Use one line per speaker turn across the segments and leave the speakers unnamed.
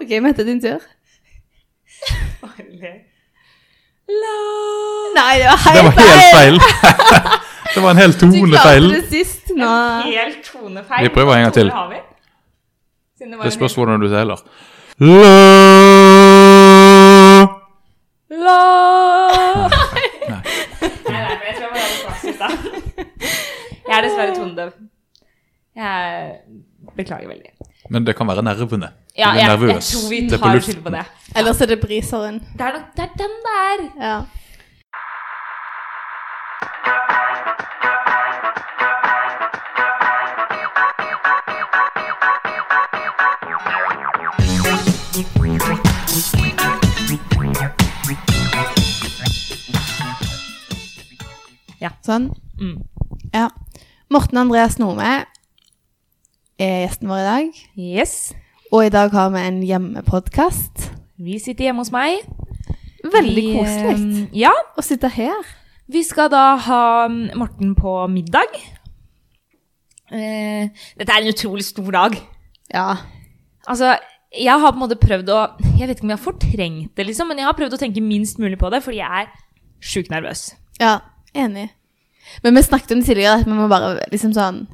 OK, Mette, din tur. Nei, det var
Det
helt
var
feil.
helt feil. det var en hel
Du klarte
tonefeil.
det sist. Nå
En helt tonefeil.
Vi prøver en gang til.
Tone har vi. Siden var
Det
en
spørs
helt-
hvordan du teller. La
La
Nei, nei, men jeg tror jeg var veldig praksis da. Jeg er dessverre tonedøv. Jeg beklager veldig.
Men det kan være nervene. Du
Ja,
blir
jeg, jeg
nervøs.
tror vi
Det er på
tar
luften.
skyld på det.
Ellers er det briseren.
Det er nok det er den det er.
Ja. Sånn.
Mm.
Ja. Morten Andreas Nome er gjesten vår i dag.
Yes.
Og i dag har vi en hjemmepodkast.
Vi sitter hjemme hos meg.
Veldig
Vi,
koselig
eh, Ja.
å sitte her.
Vi skal da ha mm, Morten på middag. Eh, dette er en utrolig stor dag.
Ja.
Altså, jeg har på en måte prøvd å Jeg vet ikke om jeg har fortrengt det, liksom, men jeg har prøvd å tenke minst mulig på det, fordi jeg er sjukt nervøs.
ja. Enig. Men vi snakket om det tidligere, at vi må bare liksom sånn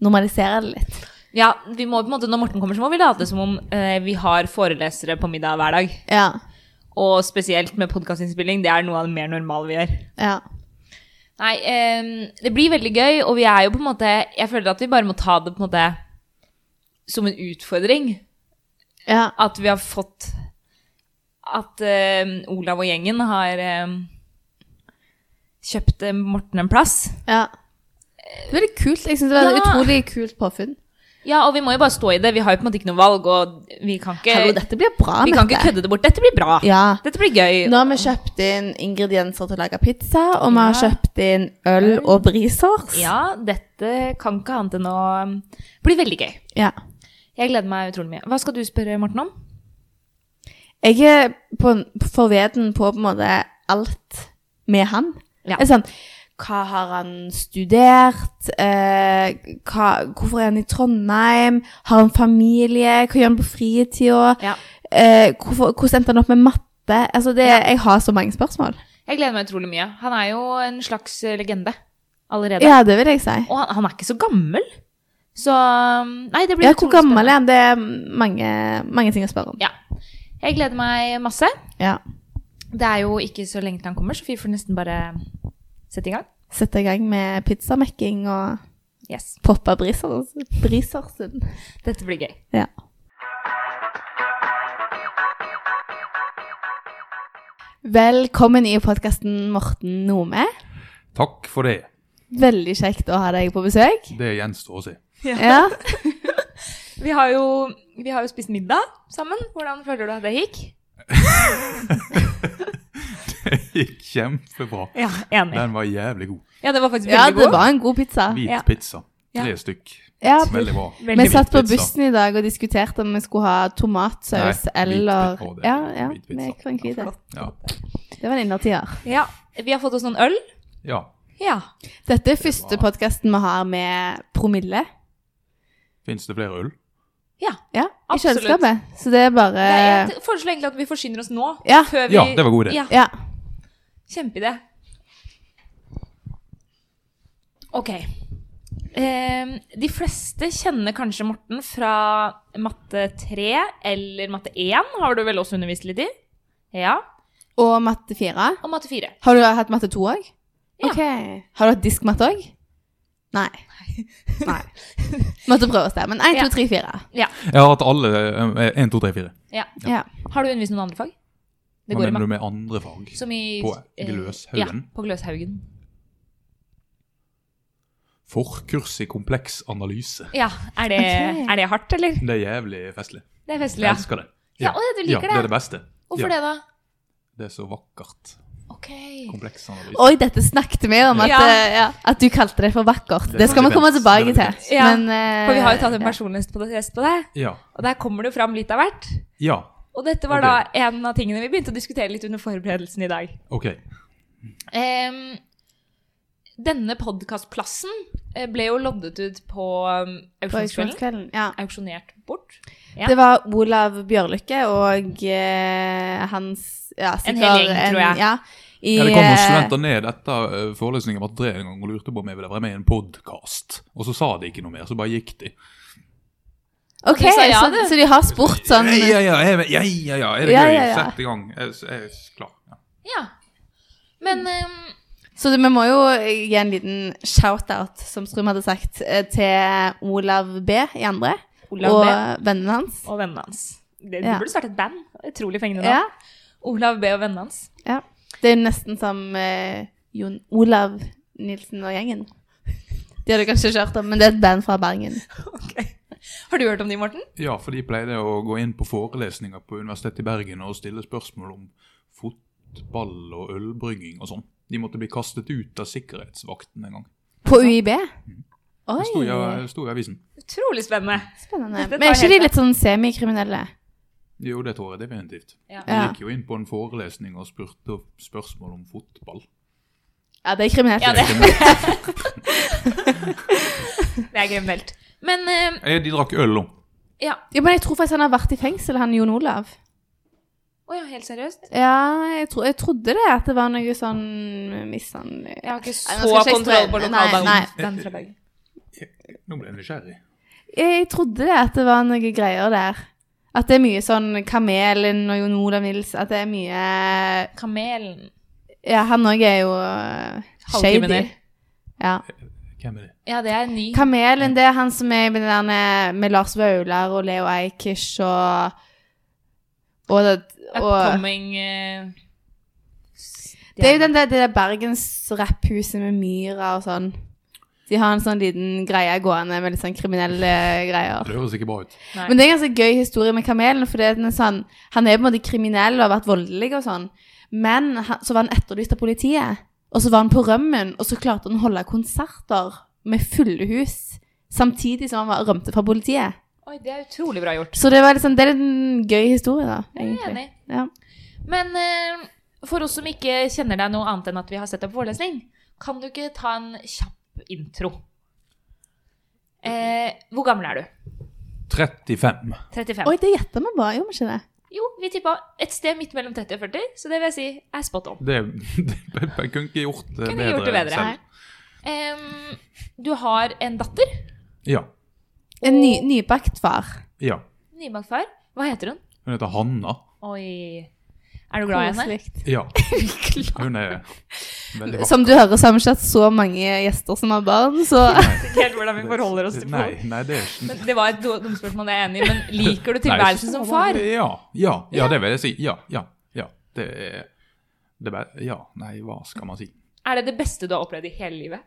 normalisere det litt.
Ja, vi må på en måte, Når Morten kommer, så må vi late som om eh, vi har forelesere på middag hver dag.
Ja.
Og spesielt med podkastinnspilling. Det er noe av det mer normale vi gjør.
Ja.
Nei, eh, det blir veldig gøy, og vi er jo på en måte Jeg føler at vi bare må ta det på en måte som en utfordring.
Ja.
At vi har fått At eh, Olav og gjengen har eh, kjøpt eh, Morten en plass.
ja. Det er veldig kult. Jeg synes det var et
Ja.
utrolig kult påfunn.
Ja, og vi må jo bare stå i det. Vi har jo på en måte ikke noe valg, og vi kan ikke,
Hallo, dette blir bra,
vi kan ikke kødde det bort. Dette blir bra.
Ja.
Dette blir gøy.
Nå har vi kjøpt inn ingredienser til å lage pizza, og vi har
Ja.
kjøpt inn øl og brisers.
Ja, dette kan ikke annet enn å um, bli veldig gøy.
Ja.
Jeg gleder meg utrolig mye. Hva skal du spørre Morten om?
Jeg er på, forveden på på en måte alt med han.
Ja.
Det Er sånn, hva har han studert? Eh, hva, hvorfor er han i Trondheim? Har han familie? Hva gjør han på fritida?
Ja.
Eh, hvorfor, hvordan endte han opp med matte? Altså det, Jeg har så mange spørsmål.
Jeg gleder meg utrolig mye. Han er jo en slags eh, legende allerede.
Ja, det vil jeg si.
Og han, han er ikke så gammel. Så um, Nei, det blir
Ja, hvor
utrolig
gammel
spennende.
er han? Det er mange, mange ting å spørre om.
Ja. Jeg gleder meg masse.
Ja.
Det er jo ikke så lenge til han kommer, så vi får nesten bare sette i gang.
Sette i gang med pizzamekking og
Yes.
poppe brisers, brisersen.
Dette blir gøy.
Ja. Velkommen i podkasten, Morten Nome.
Takk for det.
Veldig kjekt å ha deg på besøk.
Det gjenstår å se.
Ja.
Vi har, jo, vi har jo spist middag sammen. Hvordan føler du at det gikk?
Det gikk kjempebra.
Ja, enig.
Den var jævlig god.
Ja, det var faktisk
ja,
veldig
det
god.
var en god pizza.
Hvit
Ja.
pizza.
Ja.
Tre stykk.
Ja,
Veldig bra.
Veldig
vi satt på
Pizza.
bussen i dag og diskuterte om vi skulle ha tomatsaus
Nei, hvit
eller
pi- å, det er
Ja, ja,
hvit pizza.
med grønn hvit. ja.
Ja.
Det var en innertier.
Ja, vi har fått oss noen øl.
ja.
Ja.
Dette er første podkasten vi har med promille
Fins det flere øl?
ja.
ja, i
Absolutt.
kjøleskapet. Så det er bare
Nei, jeg foreslår egentlig at vi forsyner oss nå.
Ja.
Før vi...
Eh. Ja, det var god idé.
Ja,
Ja.
kjempeidé. Ok. Ehm, de fleste kjenner kanskje Morten fra matte 3 eller matte 1, har du vel også undervist litt i? Ja.
Og matte fire.
Og matte 4.
Har du hatt matte to òg?
Ja.
Ok. Har du hatt diskmatte òg? Nei. Nei. Måtte prøve oss der. Men én,
Ja.
to, tre, fire.
Ja.
Jeg har hatt alle eh, en, to, tre, fire.
ja.
Ja.
Har du undervist noen andre fag?
Hva mener du med andre fag?
Som i
På
eh,
Gløshaugen?
Ja, på Gløshaugen.
Forkurs i kompleks analyse.
Ja, er det,
Ok.
er det hardt, eller?
Det er jævlig festlig.
Det er festlig,
Jeg
ja.
elsker det.
Ja, å, ja, du liker
ja, det
det.
er det beste.
Hvorfor
ja.
det, da?
Det er så vakkert.
Ok.
Kompleks analyse.
Oi, dette snakket vi om, at,
Ja.
eh, ja, at du kalte det for vakkert.
Det
Det skal vi
var
komme
litt
tilbake
vent.
til.
Ja,
Men, eh,
For vi har jo tatt en
ja.
personlighet på det, test på deg,
Ja.
og der kommer det jo fram litt av hvert.
Ja,
Og dette var
Ok.
da en av tingene vi begynte å diskutere litt under forberedelsen i dag.
OK.
Em, denne podkastplassen ble jo loddet ut på um,
På
auksjonskvelden.
Auksjonskvelden, Ja.
Auksjonert bort. Ja.
Det var Olav Bjørlykke og eh, hans ja,
En hel
sikkert
gjeng, tror jeg.
Ja, i,
Ja, det kom noen
eh,
studenter ned etter eh, forelesningen om at Dre en gang og lurte på om jeg ville være med i en podkast. Og så sa de ikke noe mer, så bare gikk de.
Ok,
Du sa ja,
så,
du.
så de har spurt sånn
Ja, ja, ja, jeg, ja, ja, ja, er det
Ja,
gøy?
ja, ja.
Sett i gang. Jeg, jeg er klar. Ja.
Ja. Men ehm,
Så det, vi må jo gi en liten shout-out, som Strum hadde sagt, eh, til Olav B i andre.
Olav
og
B.
vennene hans.
og vennene hans. Det, du
Ja.
burde starte et band. Utrolig fengende
Ja,
navn. Olav B og vennene hans.
ja. Det er jo nesten som eh, Jon Olav Nilsen og gjengen. De har du kanskje ikke hørt om, men det er et band fra Bergen.
Har du hørt om de, Morten?
ja, for de pleide å gå inn på forelesninger på Universitetet i Bergen og stille spørsmål om fotball og ølbrygging og sånn. De måtte bli kastet ut av sikkerhetsvakten en gang.
På UiB. Oi,
Det sto i, det sto i avisen.
Utrolig spennende.
spennende.
Dette
Men er
tar
ikke de
helt
litt sånn semikriminelle?
Jo, det tror jeg definitivt.
Ja.
De
Ja.
gikk jo inn på en forelesning og spurte spørsmål om fotball.
Ja, det er kriminelt.
Ja, det,
Jeg-
det er kriminelt. Men ehm,
De drakk øl om.
ja.
Ja, men jeg tror faktisk han har vært i fengsel, han Jon Olav.
Å ja, helt seriøst?
Ja, jeg, tro, jeg trodde det, at det var noe sånn mishandling
Jeg har ikke
Nei,
så
nå skal ikke jeg
kontroll på
spørre. Nei, nei.
lokalbanen. fra Bergen.
Nå ble jeg nysgjerrig.
Jeg trodde det, at det var noe greier der. At det er mye sånn Kamelen og Jon Olav Nils, at det er mye
Kamelen.
Ja, han òg er jo eh, shady.
Halvkriminell.
Ja.
Hvem er det?
Ja, det er ny.
Kamelen, det er han som er med, den der, med Lars Vaular og Leo Ajkic og og, det- og
Upcoming eh,
Det er jo den der, det der Bergens-rapphuset med myra og sånn. De har en sånn liten greie gående med litt sånn kriminelle greier.
Det høres ikke bra ut.
Nei.
Men det er en ganske gøy historie med Kamelen, for den er sånn, han er på en måte kriminell og har vært voldelig og sånn. Men han, så var han etterlyst av politiet, og så var han på rømmen, og så klarte han å holde konserter med fulle hus, samtidig som han var rømte fra politiet.
Oi, det er utrolig bra gjort.
Så det, var liksom, det er en gøy historie da,
Jeg er
egentlig.
enig.
Ja.
Men eh, for oss som ikke kjenner deg noe annet enn at vi har sett deg på forelesning, kan du ikke ta en kjapp intro? Eh, hvor gammel er du?
35.
35?
Oi, det gjetter vi bra, gjorde vi ikke det?
Jo, vi tippa et sted midt mellom 30 og 40, så det vil jeg si er spot on.
Det, det, jeg kunne ikke gjort det
Kunne
bedre,
gjort det bedre.
selv.
Em, du har en datter.
Ja.
En ny, nybakt far.
ja.
Nybakt far. Hva heter hun?
Hun heter Hanna.
Oi. Er du glad i henne?
Koselig.
Ja. Hun er veldig vakker.
Som du hører, så har vi ikke hatt så mange gjester som har barn, så...
Ikke helt hvordan vi forholder oss til
Nei,
folk.
nei, det er ikke
Men Det var et do- dumt spørsmål, det er jeg enig i, men liker du
Nei,
tilværelsen som far?
Ja, ja, ja, det vil jeg si. Ja, ja, ja. Det er det er bare- Ja, nei, hva skal man si?
Er det det beste du har opplevd i hele livet?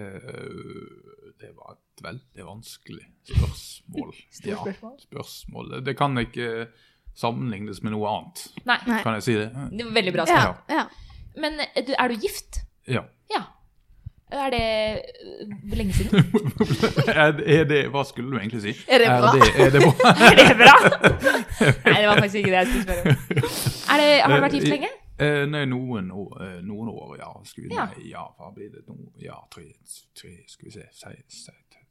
Eh, Det var et veldig vanskelig spørsmål.
Stort spørsmål.
spørsmål. Det kan ikke sammenlignes med noe annet.
Nei.
Nei.
Kan jeg si det?
Det var veldig bra svar.
Ja, ja.
Men er du- er du gift?
Ja.
Ja. Er det øh, hvor lenge siden?
Er det, er det, hva skulle du egentlig si?
Er det bra?
Er det, er det bra?
Er det bra? Nei, det var faktisk ikke det jeg skulle spørre om. Er det, har du vært gift lenge?
Eh, nei, noen år, eh, noen år ja. Skal vi,
Ja.
Nei, ja, hva blir det nå? Ja, tre, tre Skal vi se Si, si,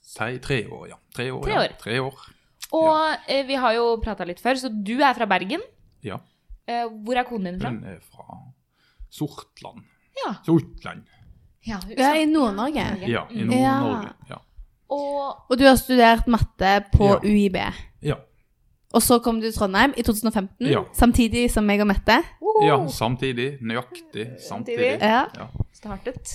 si tre år, ja. Tre år.
Tre
ja.
år.
Tre år.
Og eh, vi har jo prata litt før, så du er fra Bergen.
Ja. Mm.
Eh, Hvor er konen din fra?
Hun er fra Sortland.
Ja.
Sortland.
Ja,
Ja, i Nord-Norge.
Ja, i
Mm.
Nord-Norge. Ja.
Og
Og du har studert matte på
Ja.
UiB.
Ja.
Og så kom du til Trondheim i 2015,
Ja.
samtidig som meg og Mette.
Woho!
ja, samtidig. Nøyaktig samtidig.
Samtidig.
Ja.
Ja.
startet.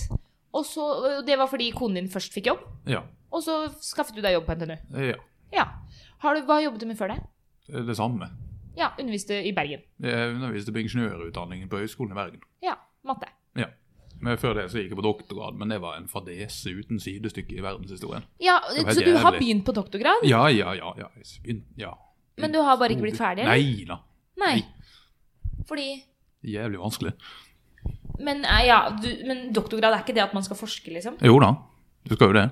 Og så, og det var fordi konen din først fikk jobb,
Ja.
og så skaffet du deg jobb på NTNU.
ja.
Ja. Har du, hva jobbet du med før det?
Det samme.
Ja, underviste i Bergen.
Jeg underviste på ingeniørutdanningen på Høgskolen i Bergen.
Ja, matte.
Ja. Men Før det så gikk jeg på doktorgrad, men det var en fadese uten sidestykke i verdenshistorien.
Ja,
var
Så
helt
du har
jævlig.
begynt på doktorgrad,
Ja, ja, ja. ja. Jeg begyn- ja.
men du har bare ikke blitt ferdig? eller?
Nei da.
Nei. Fordi
Jævlig vanskelig.
men, eh, ja, du, men doktorgrad er ikke det at man skal forske, liksom?
Jo da, du skal jo det.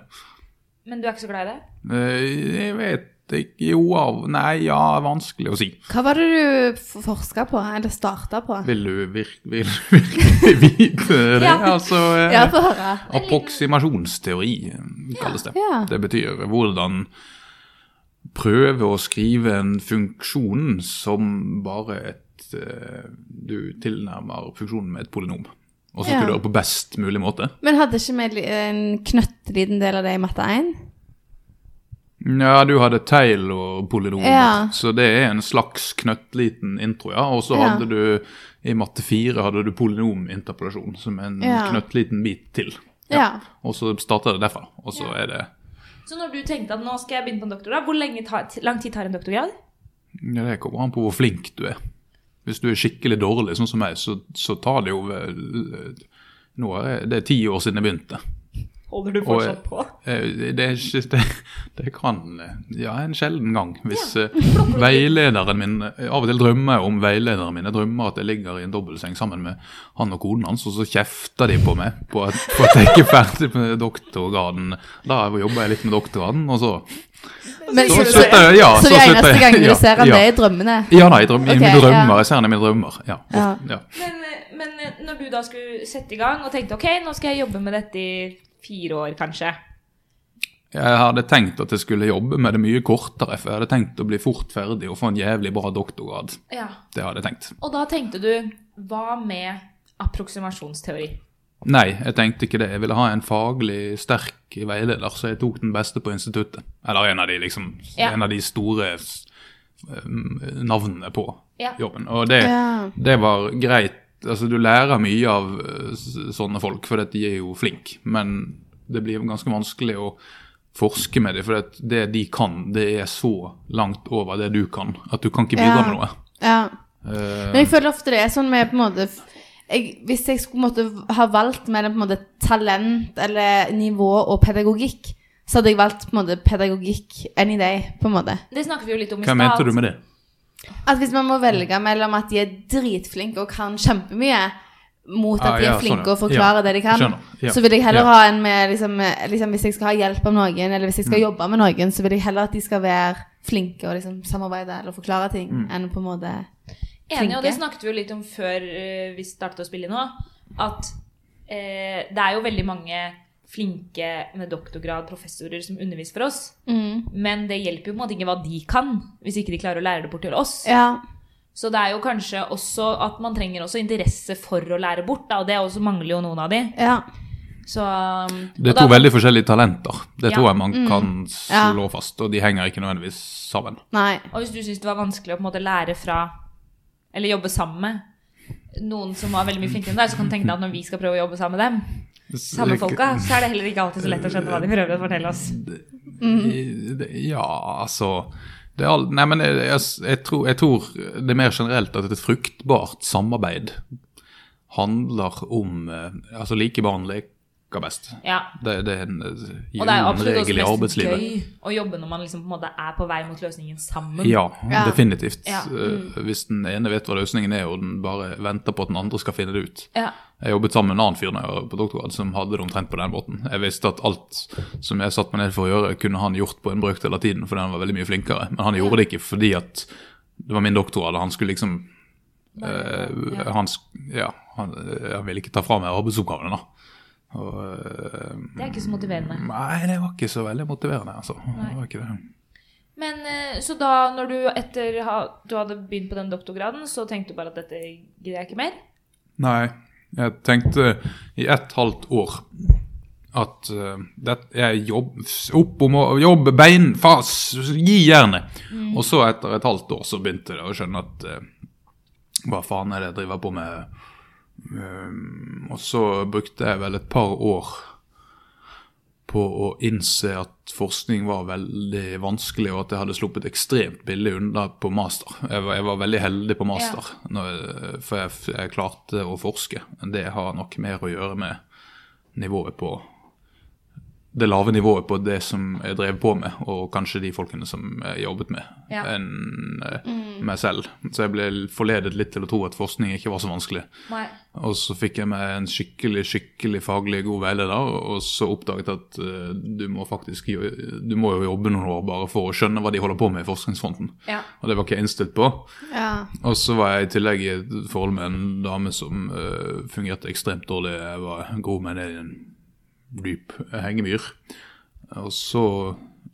Men du er ikke så glad i det?
Eh, Jeg vet ikke Jo, av Nei, ja, vanskelig å si.
Hva var det du f- forska på, eller starta på?
Vil du virk- vil du virkelig vite det?
Ja.
Altså eh,
Ja, få høre.
Approksimasjonsteori eh, kalles det.
Ja.
Det betyr hvordan prøver å skrive en funksjon som bare et eh, Du tilnærmer funksjonen med et polynom. Og så skal
Ja.
du gjøre det på best mulig måte.
Men hadde ikke vi li- en knøttliten del av det i matte 1?
Ja, du hadde Taylor-polynomer,
Ja.
så det er en slags knøttliten intro, ja. Og så
Ja.
hadde du i matte 4 hadde du polynominterpolasjon, som en
Ja.
knøttliten bit til.
Ja.
Og så starter det derfra, og så er det
Så når du tenkte at nå skal jeg begynne på en doktorgrad, hvor lenge tar, lang tid tar en doktorgrad?
ja, Det kommer an på hvor flink du er. Hvis du er skikkelig dårlig, sånn som meg, så, så tar det jo vel nå er jeg- Det er ti år siden jeg begynte.
Holder du
Og, eh,
fortsatt på?
Eh, Det, er ikke, det, det kan eh, Ja, en sjelden gang. Hvis eh, veilederen min eh, Av og til drømmer jeg om veilederen min. Jeg drømmer at jeg ligger i en dobbeltseng sammen med han og konen hans, og så kjefter de på meg på at, på at jeg ikke er ferdig med doktorgraden. Da jobber jeg litt med doktorgraden, og så
Men,
Så
så, så,
slutter jeg- ja, så
de
slutter
eneste
jeg-
gangene
ja,
du ser han,
ja.
det er i drømmene?
Ja, nei, drøm, i
Ok,
mine drømmer.
ja.
Jeg ser henne i mine drømmer. Ja.
Ja.
ja.
Men, eh, men når du da skulle sette i gang og tenkte ok, nå skal jeg jobbe med dette i fire år, kanskje.
Jeg hadde tenkt at jeg skulle jobbe med det mye kortere, for jeg hadde tenkt å bli fort ferdig og få en jævlig bra doktorgrad.
Ja.
Det hadde jeg tenkt.
Og da tenkte du hva med approksimasjonsteori?
Nei, jeg tenkte ikke det. Jeg ville ha en faglig sterk veileder, så jeg tok den beste på instituttet. Eller en av de, liksom,
Ja.
en av de store s- um, navnene på
Ja.
jobben. Og det,
Ja.
det var greit. Altså, du lærer mye av eh, s- sånne folk, for de er jo flinke. Men det blir ganske vanskelig å forske med dem, for at det de kan, det er så langt over det du kan, at du kan ikke bidra
Ja.
med noe.
Ja.
Eh,
Men jeg føler ofte det er sånn med på en måte jeg, Hvis jeg skulle måtte ha valgt mellom på en måte talent eller nivå og pedagogikk, så hadde jeg valgt på en måte pedagogikk any day, på en måte.
Det snakket vi jo litt om
hva
i stad.
mente du med det?
At hvis man må velge mellom at de er dritflinke og kan kjempemye, mot at
Ah,
de
ja,
er
sånn,
flinke
ja.
og forklarer
Ja,
det de kan,
skjønner. Ja.
så vil jeg heller
Ja.
ha en med liksom, eh, liksom Hvis jeg skal ha hjelp av noen, eller hvis jeg
Mm.
skal jobbe med noen, så vil jeg heller at de skal være flinke og liksom samarbeide eller forklare ting,
Mm.
enn på en måte
Enig, og det
flinke.
snakket vi jo litt om før eh, vi startet å spille nå, at eh, det er jo veldig mange flinke med doktorgrad professorer som underviser for oss,
mm.
men det hjelper jo på en måte ikke hva de kan, hvis ikke de klarer å lære det bort til oss.
Ja.
Så det er jo kanskje også at man trenger også interesse for å lære bort, da, og det er også mangler jo noen av de.
ja.
Så, um,
Det
og
er to
da-
veldig forskjellige talenter. Det
Ja.
tror jeg man
Mm.
kan
Ja.
slå fast, og de henger ikke nødvendigvis sammen.
Nei.
Og hvis du syns det var vanskelig å på en måte lære fra, eller jobbe sammen med, noen som var veldig mye flinkere enn deg, så kan du tenke deg at når vi skal prøve å jobbe sammen med dem, samme folka, så er det heller ikke alltid så lett å skjønne hva de prøver å fortelle oss.
I- det- Ja, altså det er all, Nei, men jeg, jeg, jeg, tror, jeg tror det er mer generelt at et fruktbart samarbeid handler om eh, Altså, like barn leker best.
Ja.
Det, det er en eh,
Og det er jo
gyllen
absolutt
regel i
også mest
arbeidslivet.
gøy å jobbe når man liksom på en måte er på vei mot løsningen sammen.
Ja,
Ja.
definitivt.
Ja. Mm.
Eh, Hvis den ene vet hva løsningen er, og den bare venter på at den andre skal finne det ut.
Ja.
Jeg jobbet sammen med en annen fyr når jeg var på doktorgrad som hadde det omtrent på den måten. Jeg visste at alt som jeg satte meg ned for å gjøre, kunne han gjort på en brøkdel av tiden, fordi han var veldig mye flinkere. Men han gjorde det ikke fordi at det var min doktorgrad, og han skulle liksom eh,
ja.
han, sk- ja, han, eh, han ville ikke ta fra meg arbeidsoppgavene, da. Og, eh,
Det er ikke så motiverende.
nei, det var ikke så veldig motiverende, altså. Det var ikke det.
Men eh, så da, når du etter ha- du hadde begynt på den doktorgraden, så tenkte du bare at dette gidder jeg ikke mer?
Nei, jeg tenkte i ett halvt år at eh, det, jeg jobb, opp om å jobbe beinfas, gi jernet. Og så etter et halvt år så begynte jeg å skjønne at eh, hva faen er det jeg driver på med? Eh, og så brukte jeg vel et par år på å innse at forskning var veldig vanskelig, og at jeg hadde sluppet ekstremt billig unna på master. Jeg var, jeg var veldig heldig på master, når jeg, for jeg, f- jeg klarte å forske. Det har nok mer å gjøre med nivået på det lave nivået på det som jeg drev på med, og kanskje de folkene som jeg jobbet med,
Ja.
enn eh, meg selv. Så jeg ble forledet litt til å tro at forskning ikke var så vanskelig.
Nei.
Og så fikk jeg meg en skikkelig skikkelig faglig god veileder, og så oppdaget jeg at eh, du må faktisk jo, du må jo jobbe noen år bare for å skjønne hva de holder på med i forskningsfronten.
Ja.
Og det var ikke jeg innstilt på.
Ja.
Og så var jeg i tillegg i et forhold med en dame som eh, fungerte ekstremt dårlig. Jeg var grov meg ned i en dyp hengemyr. Og så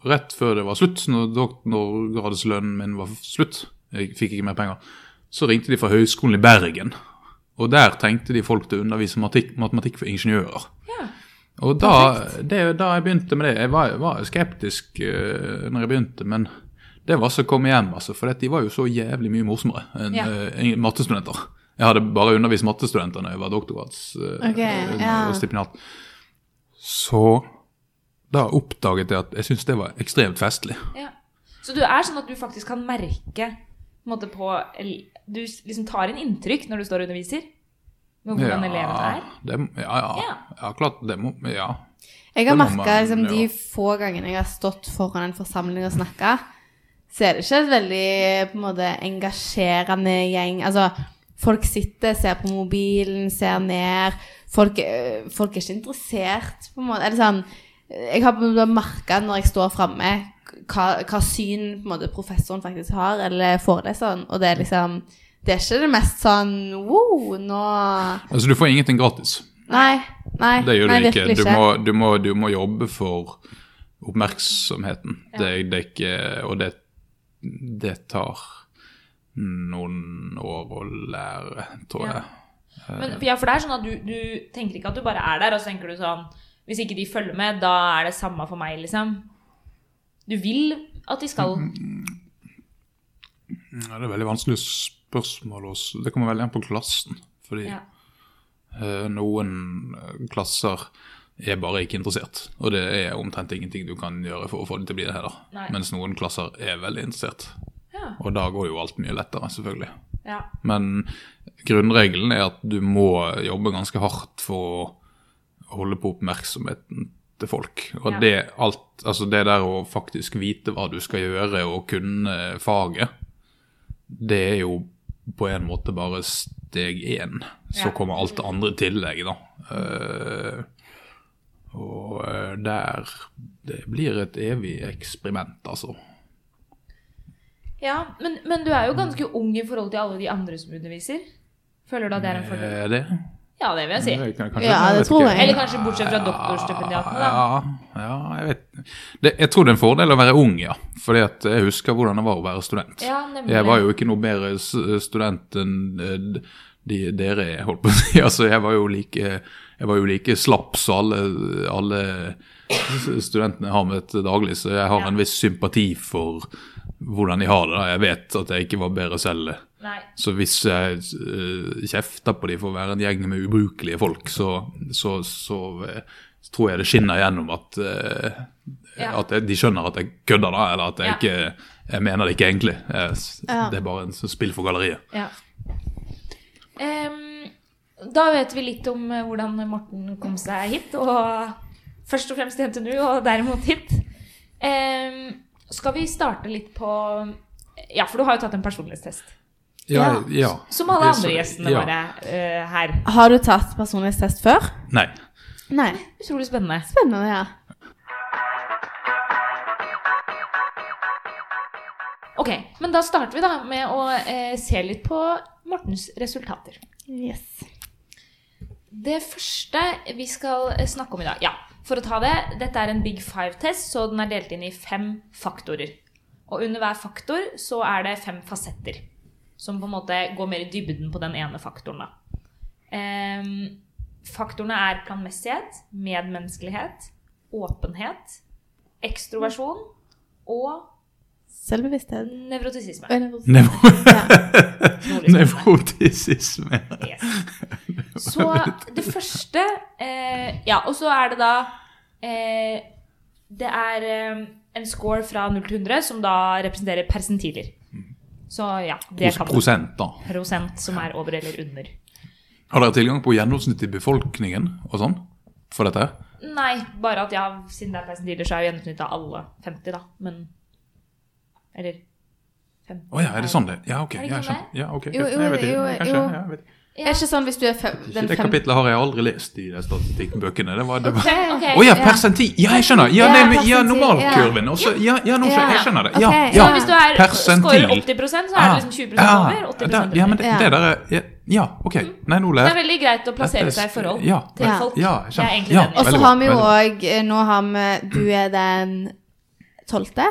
rett før det var slutt, når, dok- når gradeslønnen min var slutt, jeg fikk ikke mer penger, så ringte de fra Høgskolen i Bergen. Og der tenkte de folk til å undervise matik- matematikk for ingeniører.
Ja.
Og da, det, da jeg begynte med det Jeg var, var skeptisk uh, når jeg begynte, men det var så kom igjen, altså. For de var jo så jævlig mye morsommere enn
Ja.
eh, enn mattestudenter. Jeg hadde bare undervist mattestudenter når jeg var doktorgrads... eh,
Ok,
eh,
ja.
og stipendiat. Så da oppdaget jeg at jeg syntes det var ekstremt festlig.
Ja. Så du er sånn at du faktisk kan merke på, en måte, på el- Du s- liksom tar inn inntrykk når du står og underviser? Med hvordan elevene er?
Det, ja, ja,
Ja.
ja. klart. Det må Ja.
Jeg
Det må
har
man
merka liksom, de
gjøre.
få gangene jeg har stått foran en forsamling og snakka, så er det ikke et veldig på en måte, engasjerende gjeng. Altså, folk sitter, ser på mobilen, ser ned. Folk, øh, folk er ikke interessert, på en måte. Eller sånn Jeg har på en måte merka når jeg står framme, hva, hva syn på en måte, professoren faktisk har, eller foreleseren, og det er liksom Det er ikke det mest sånn wow, nå
Altså, du får ingenting gratis.
Nei. Nei,
Det gjør du
nei,
ikke.
virkelig
Du må, du, må, du må jobbe for oppmerksomheten. Det, det er ikke Og det, det tar noen år å lære, tror
Ja.
jeg.
Men, for- ja, for det er sånn at du, du tenker ikke at du bare er der, og så tenker du sånn Hvis ikke de følger med, da er det samme for meg, liksom. Du vil at de skal
Ja, det er veldig vanskelig spørsmål også. Det kommer veldig an på klassen. Fordi
ja.
eh, noen eh, klasser er bare ikke interessert. Og det er omtrent ingenting du kan gjøre for å få det til å bli det heller.
Nei.
Mens noen klasser er veldig interessert.
Ja.
Og da går jo alt mye lettere, selvfølgelig.
ja.
Men grunnregelen er at du må jobbe ganske hardt for å holde på oppmerksomheten til folk. Og
Ja.
det, alt, altså det der å faktisk vite hva du skal gjøre og kunne faget, det er jo på en måte bare steg én. Så
Ja.
kommer alt det andre i tillegg, da. Eh, og eh, der Det blir et evig eksperiment, altså.
Ja, men, men du er jo ganske ung i forhold til alle de andre som underviser. Føler du at det er en fordel?
Er Eh, det?
Ja, det vil jeg si.
Jeg kan- kanskje-
Ja, det
vet
tror
ikke.
jeg.
Eller kanskje bortsett fra doktorstipendiatene, da.
Ja, ja, jeg vet det, Jeg tror det er en fordel å være ung, ja. Fordi at jeg husker hvordan det var å være student.
Ja, nemlig.
jeg var jo ikke noe bedre s- student enn eh, d- de, dere er, holdt på å si. Altså, jeg var jo like, jeg var jo like slapp som alle, alle s- studentene jeg har med til daglig, så jeg har
Ja.
en viss sympati for hvordan de har det. da. Jeg vet at jeg ikke var bedre selv.
Nei.
Så hvis jeg eh, kjefter på dem for å være en gjeng med ubrukelige folk, så, så, så eh, tror jeg det skinner gjennom at, eh,
Ja.
at jeg, de skjønner at jeg kødder, da, eller at jeg
Ja.
ikke jeg mener det ikke egentlig. Jeg, s-
Ja.
Det er bare en s- spill for galleriet.
Ja. Em, da vet vi litt om eh, hvordan Morten kom seg hit, og først og fremst til NTNU, og derimot hit. Em, skal vi starte litt på Ja, for du har jo tatt en personlighetstest.
Ja.
Som alle
Så-
andre gjestene
ja.
våre eh, her.
Har du tatt personlighetstest før?
Nei.
Nei.
Utrolig spennende.
Spennende, ja.
Ok, men da starter vi da med å eh, se litt på Mortens resultater.
Yes.
Det første vi skal eh, snakke om i dag Ja, for å ta det. Dette er en Big Five-test, så den er delt inn i fem faktorer. Og under hver faktor så er det fem fasetter. Som på en måte går mer i dybden på den ene faktoren, da. Ehm, faktorene er planmessighet, medmenneskelighet, åpenhet, ekstroversjon og
Selvbevissthet.
nevrotisisme.
Øy, nervøs.
Nevro
Ja.
Utrolig spennende.
nevrotisisme.
Yes. Så det første eh, Ja, og så er det da eh, Det er eh, en score fra 0 til 100 som da representerer persentiler. Så ja, det
Pros
kan du.
prosent, da.
Prosent som er over eller under.
Har dere tilgang på gjennomsnittet i befolkningen og sånn for dette? her?
Nei, bare at ja, siden det er persentiler, så er jo gjennomsnittet av alle 50, da. Men Eller 50
Å ja, er det sånn det? Ja, ok. Ja,
Er det ikke
jeg skjønner. Ja, ok.
Jo, jo,
jeg vet ikke.
jo,
Kanskje.
jo.
Ja, jeg vet ikke.
Er ikke sånn hvis du er fem,
Ikke
den
det
fem...
kapitlet har jeg aldri lest i de statistikkbøkene. Det var, det var...
Ok,
Å ja,
ja.
persentil! Ja, jeg skjønner! Ja,
Ja,
det er med- ja
persentil,
normalkurven. Også, ja, ja, nå skjønner jeg skjønner det. Ja,
Ok,
ja.
Så hvis du er,
Persentil.
scorer 80 så er det liksom 20 over. Mm. 80
Ah. Ja,
under.
ja, men det,
Ja.
det der er ja, Ja, ok. Nei, nå
Det er
ler jeg.
veldig greit å plassere
Dette er-
seg i forhold
ja,
til
ja,
folk.
ja, jeg
jeg er
skjønner.
egentlig
Ja.
Og
enig.
så
Veldig bra,
eh, har vi jo
veldig
òg Nå har vi Du er den tolvte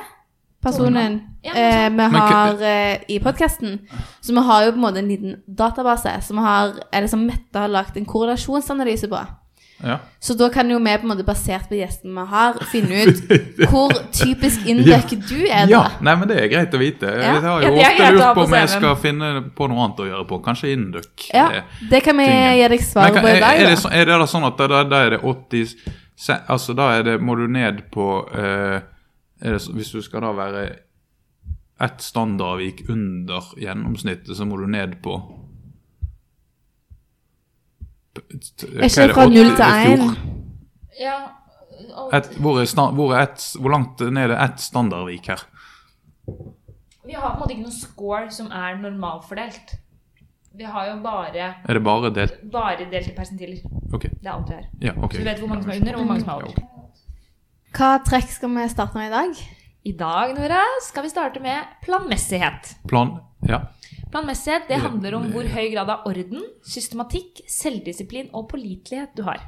personen
Ja,
eh, vi
Men
har
hva-
eh, i podkasten. Så vi har jo på en måte en liten database som vi har, eller som Mette har lagd en korrelasjonsanalyse på.
Ja.
Så da kan jo vi på en måte basert på gjesten vi har, finne ut hvor typisk indøk du er.
ja.
da.
Nei, men det er greit å vite. Jeg har jo
Ja, det er
ofte
greit å
lurt på
ha på
om jeg
CV-en.
skal finne på noe annet å gjøre på. Kanskje induck.
Ja,
eh,
Det kan vi
tingen.
gi deg svar
Men kan-
på i
Er,
dag.
er, det,
da.
så- er det da sånn at da, da, da er det 80 se- Altså da er det, må du ned på eh, er det, så- Hvis du skal da være ett standardvik under gjennomsnittet, så må du ned på
Er ikke det fra null til én?
Ja, og
hvor, er sta- hvor, er ett- hvor langt ned er ett standardvik her?
vi har på en måte ikke noen score som er normalfordelt. Vi har jo bare,
Er det bare delt
bare delt i persentiler.
Ok.
Det er alt vi har.
Ja, ok.
Så du vet hvor mange som er under, og hvor mange som er over.
Hva trekk skal vi starte med i dag?
I dag, Nora, skal vi starte med planmessighet.
Plan Ja.
Planmessighet det handler om hvor høy grad av orden, systematikk, selvdisiplin og pålitelighet du har.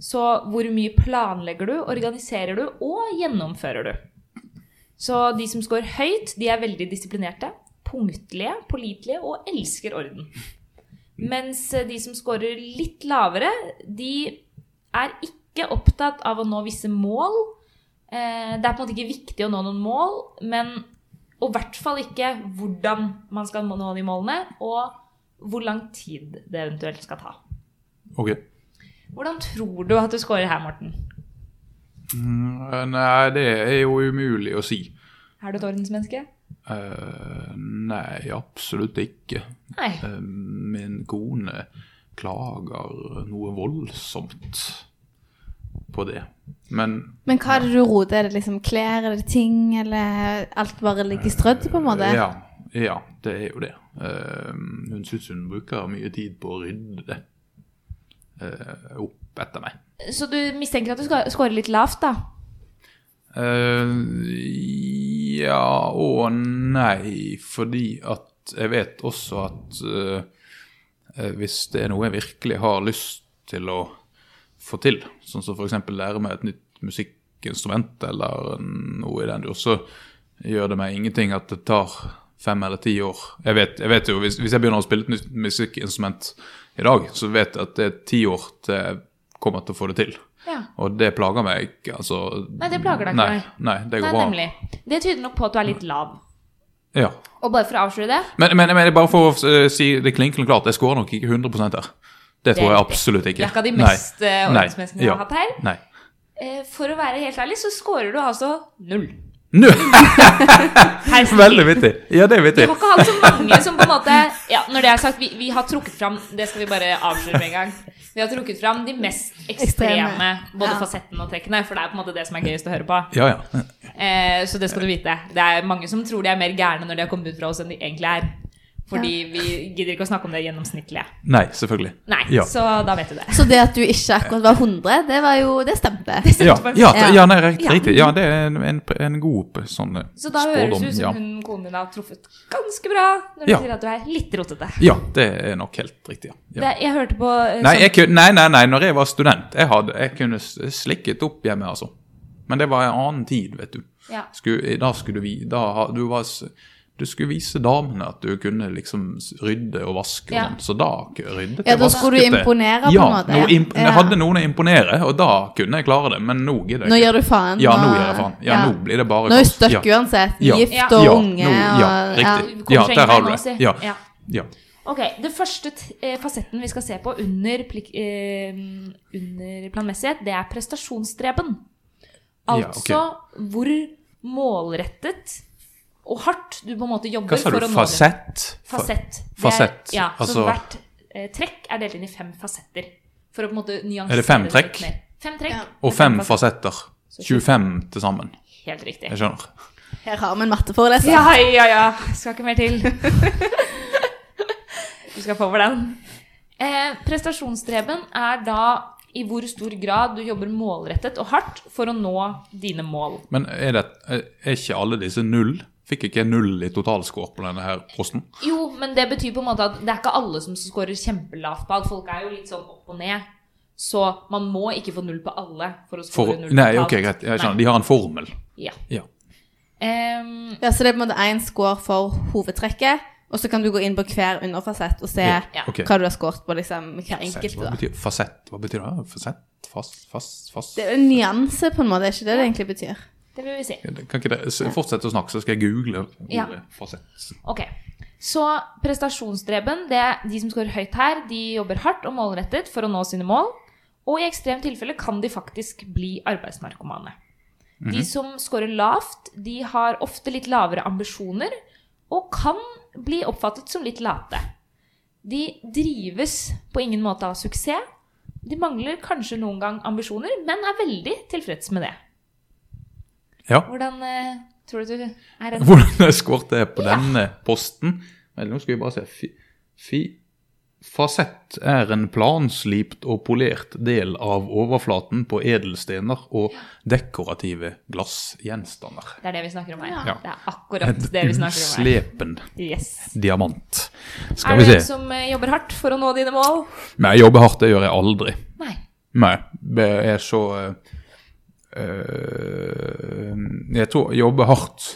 Så hvor mye planlegger du, organiserer du og gjennomfører du. Så de som scorer høyt, de er veldig disiplinerte, punktlige, pålitelige og elsker orden. Mens eh, de som scorer litt lavere, de er ikke opptatt av å nå visse mål. Eh, Det er på en måte ikke viktig å nå noen mål, men og i hvert fall ikke hvordan man skal nå de målene, og hvor lang tid det eventuelt skal ta.
Ok.
Hvordan tror du at du scorer her, Morten?
Mm, Nei, det er jo umulig å si.
Er du et ordensmenneske?
Eh, nei, absolutt ikke.
Nei.
Eh, min kone klager noe voldsomt på det. Men
Men hva er det du roter? Er det liksom klær, er det ting, eller alt bare ligger strødd, på en måte?
Ja, ja, det er jo det. Eh, hun syns hun bruker mye tid på å rydde det eh, opp etter meg.
Så du mistenker at du ska- scorer litt lavt, da?
Eh, ja og nei, fordi at jeg vet også at eh, eh, hvis det er noe jeg virkelig har lyst til å få til, sånn som f.eks. lære meg et nytt musikkinstrument eller noe i den dur, så gjør det meg ingenting at det tar fem eller ti år. Jeg vet, jeg vet jo, hvis, hvis jeg begynner å spille et nytt musikkinstrument i dag, så vet jeg at det er ti år til jeg kommer til å få det til.
Ja.
Og det plager meg ikke, altså
Nei, det plager deg ikke,
Nei, nei det går
Nei,
bra.
nemlig. Det tyder nok på at du er litt lav.
Ja.
Og bare for å avsløre det
Men, men, men bare for å eh, si det klinkende klart, jeg scorer nok ikke 100 her. Det tror jeg absolutt ikke.
Det er ikke av de mest eh,
Nei.
ordensmenneskene jeg
Ja.
har hatt her.
Nei.
Eh, For å være helt ærlig, så scorer du altså null.
Nå,
Per
veldig vittig! Ja, det er
Vi
vittig.
har ikke hatt så mange som på en måte Ja, når det er sagt, vi, vi har trukket fram Det skal vi bare avsløre med en gang. Vi har trukket fram de mest ekstreme,
Ekstreme.
både
Ja.
fasettene og trekkene. For det er på en måte det som er gøyest å høre på.
Ja, ja.
Eh, så det skal du vite. Det er mange som tror de er mer gærne når de har kommet ut fra oss, enn de egentlig er. Fordi vi gidder ikke å snakke om det gjennomsnittlige.
Nei, selvfølgelig.
Nei,
Ja.
så da vet du det.
Så det at du ikke akkurat var 100, det var jo Det stemte.
Ja, ja,
Ja.
ja, nei, riktig. riktig. Ja, det er en, en, en god eh, sånn eh,
Så da høres det ut som
ja.
hun konen din har truffet ganske bra når du
Ja.
sier at du er litt rotete.
ja, det er nok helt riktig. Ja. Ja.
Det, jeg hørte på eh,
Nei,
sånn-
jeg kunne, nei, nei, nei, når jeg var student, jeg, hadde, jeg kunne s- slikket opp hjemme, altså. Men det var en annen tid, vet du.
Ja.
Skulle, da skulle du, vi- da, ha- du, var, s- du skulle vise damene at du kunne liksom s- rydde og vaske, og
Ja.
sånn, så da k- ryddet
Ja,
jeg
da
vasket
skulle du
jeg.
imponere på en
ja,
måte,
Nå
ja.
imp jeg
Ja.
hadde noen å imponere, og da kunne jeg klare det, men nå gidder jeg
Nå
ikke.
gjør du faen.
Ja, nå gjør jeg faen. Ja, nå blir det bare
Nå er du
kaos.
stuck
Ja.
uansett.
Ja.
Gift
Ja.
og
Ja,
unge.
nå- ja,
og-
riktig.
Vi kommer
Ja,
seg
der
inn
har
på
du
en
det.
måte.
Ja.
Ja.
Ja.
Ok, Det første t- eh, fasetten vi skal se på under, plik, eh, under planmessighet, det er prestasjonsstreben.
Ja,
Altså hvor målrettet og hardt du på en måte jobber
Hva sa
for å
du?
nå det.
Fasett? Fa-
Fasett. Det er-
Fasett,
Ja,
altså-
så hvert eh, trekk er delt inn i fem fasetter. For å på en måte nyansere
Er det fem
litt
trekk?
mer. Fem trekk.
Ja.
Og
Det er
fem
fasetter.
fasetter. 25 til sammen.
Helt riktig.
Jeg skjønner.
Her har vi en matteforeleser.
Ja, ja, ja. Skal ikke mer til. Du skal få over den. Eh, prestasjonsstreben er da i hvor stor grad du jobber målrettet og hardt for å nå dine mål.
Men er, det, er ikke alle disse null? Fikk ikke jeg null i totalscore på denne her posten?
Jo, men det betyr på en måte at det er ikke alle som scorer kjempelavt på alt. Folk er jo litt sånn opp og ned. Så man må ikke få null på alle for å score
For,
null
nei,
totalt.
ok, greit. Jeg skjønner.
Nei.
De har en formel.
Ja.
Ja.
Ehm,
Ja, så det er på en måte én score for hovedtrekket, og så kan du gå inn på hver underfasett og se
Ja.
ok.
hva du har scoret på liksom, hver
Fasett,
enkelte.
Hva
da.
betyr fasett? Hva betyr det? Fasett? Fast? Fast? Fast?
Det er jo en nyanse, på en måte. Er ikke det det egentlig betyr?
det vil vi si.
Kan ikke dere s- fortsette å snakke, så skal jeg google ordet
Ja.
fasett?
Ok, så prestasjonsdreben, det er de som skårer høyt her, de jobber hardt og målrettet for å nå sine mål, og i ekstremt tilfelle kan de faktisk bli arbeidsnarkomane. De som skårer lavt, de har ofte litt lavere ambisjoner, og kan bli oppfattet som litt late. De drives på ingen måte av suksess, de mangler kanskje noen gang ambisjoner, men er veldig tilfreds med det.
Ja.
Hvordan eh, tror du du er en
Hvordan jeg skåret jeg på denne posten? Vel, nå skal vi bare se. Fi, fi, fasett er en planslipt og polert del av overflaten på edelstener og dekorative glassgjenstander.
Det er det vi snakker om her.
Ja.
Ja.
Det er akkurat det vi snakker om her.
Slepen
Yes.
diamant.
Er
Skal
du
vi
en
se.
som eh, jobber hardt for å nå dine mål?
Nei, jobbe hardt, det gjør jeg aldri.
Nei.
Nei, det er så eh, eh, Jeg tror å jobbe hardt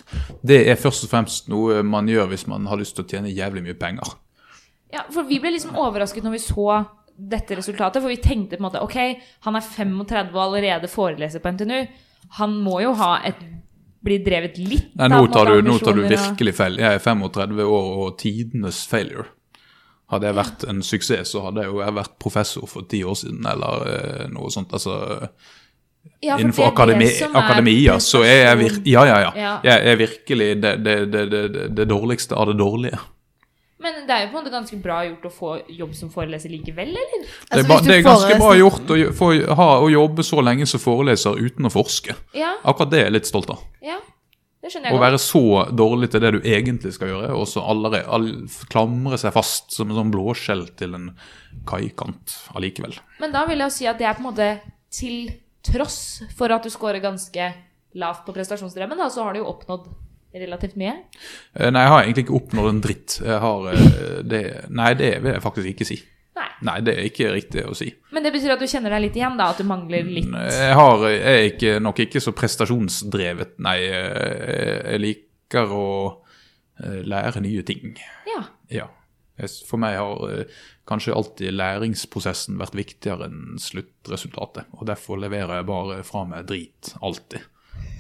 Det er først og fremst noe man gjør hvis man har lyst til å tjene jævlig mye penger.
Ja, for vi ble liksom overrasket når vi så dette resultatet, for vi tenkte på en måte ok, han er 35 og allerede foreleser på NTNU. Han må jo ha et bli drevet litt
Nei, nå
av
tar, du, nå tar du
ambisjoner og-
virkelig feil. Jeg er 35 år og tidenes failure. Hadde jeg vært en suksess, så hadde jeg jo jeg vært professor for ti år siden, eller eh, noe sånt. Altså,
Ja, for
innenfor
det er det
akademi,
som er
akademia så er jeg vir
prestasjon.
ja, ja, ja,
Ja.
Jeg er virkelig det, det, det, det, det- det dårligste av det dårlige.
Men det er jo på en måte ganske bra gjort å få jobb som foreleser likevel, eller?
Det er,
Altså,
ba,
hvis du
det er ganske
foreleser-
bra gjort å, gj- få, ha, å jobbe så lenge som foreleser uten å forske.
Ja,
Akkurat det er jeg litt stolt av.
ja. Det skjønner
Å
jeg godt.
være så dårlig til det du egentlig skal gjøre, og så allerede all, klamre seg fast som en sånn blåskjell til en kaikant allikevel.
Men da vil jeg jo si at det er på en måte til tross for at du scorer ganske lavt på prestasjonsdremmen, da, så har du jo oppnådd relativt mye.
Eh, Nei, jeg har egentlig ikke oppnådd en dritt. Jeg har, eh, det, nei, det vil jeg faktisk ikke si.
Nei.
Nei, det er ikke riktig å si.
Men det betyr at du kjenner deg litt igjen, da? At du mangler litt
Jeg, har, jeg er ikke, nok ikke så prestasjonsdrevet. Nei, eh, jeg liker å eh, lære nye ting.
Ja.
Ja. Jeg s- For meg har eh, kanskje alltid læringsprosessen vært viktigere enn sluttresultatet. Og derfor leverer jeg bare fra meg drit, alltid.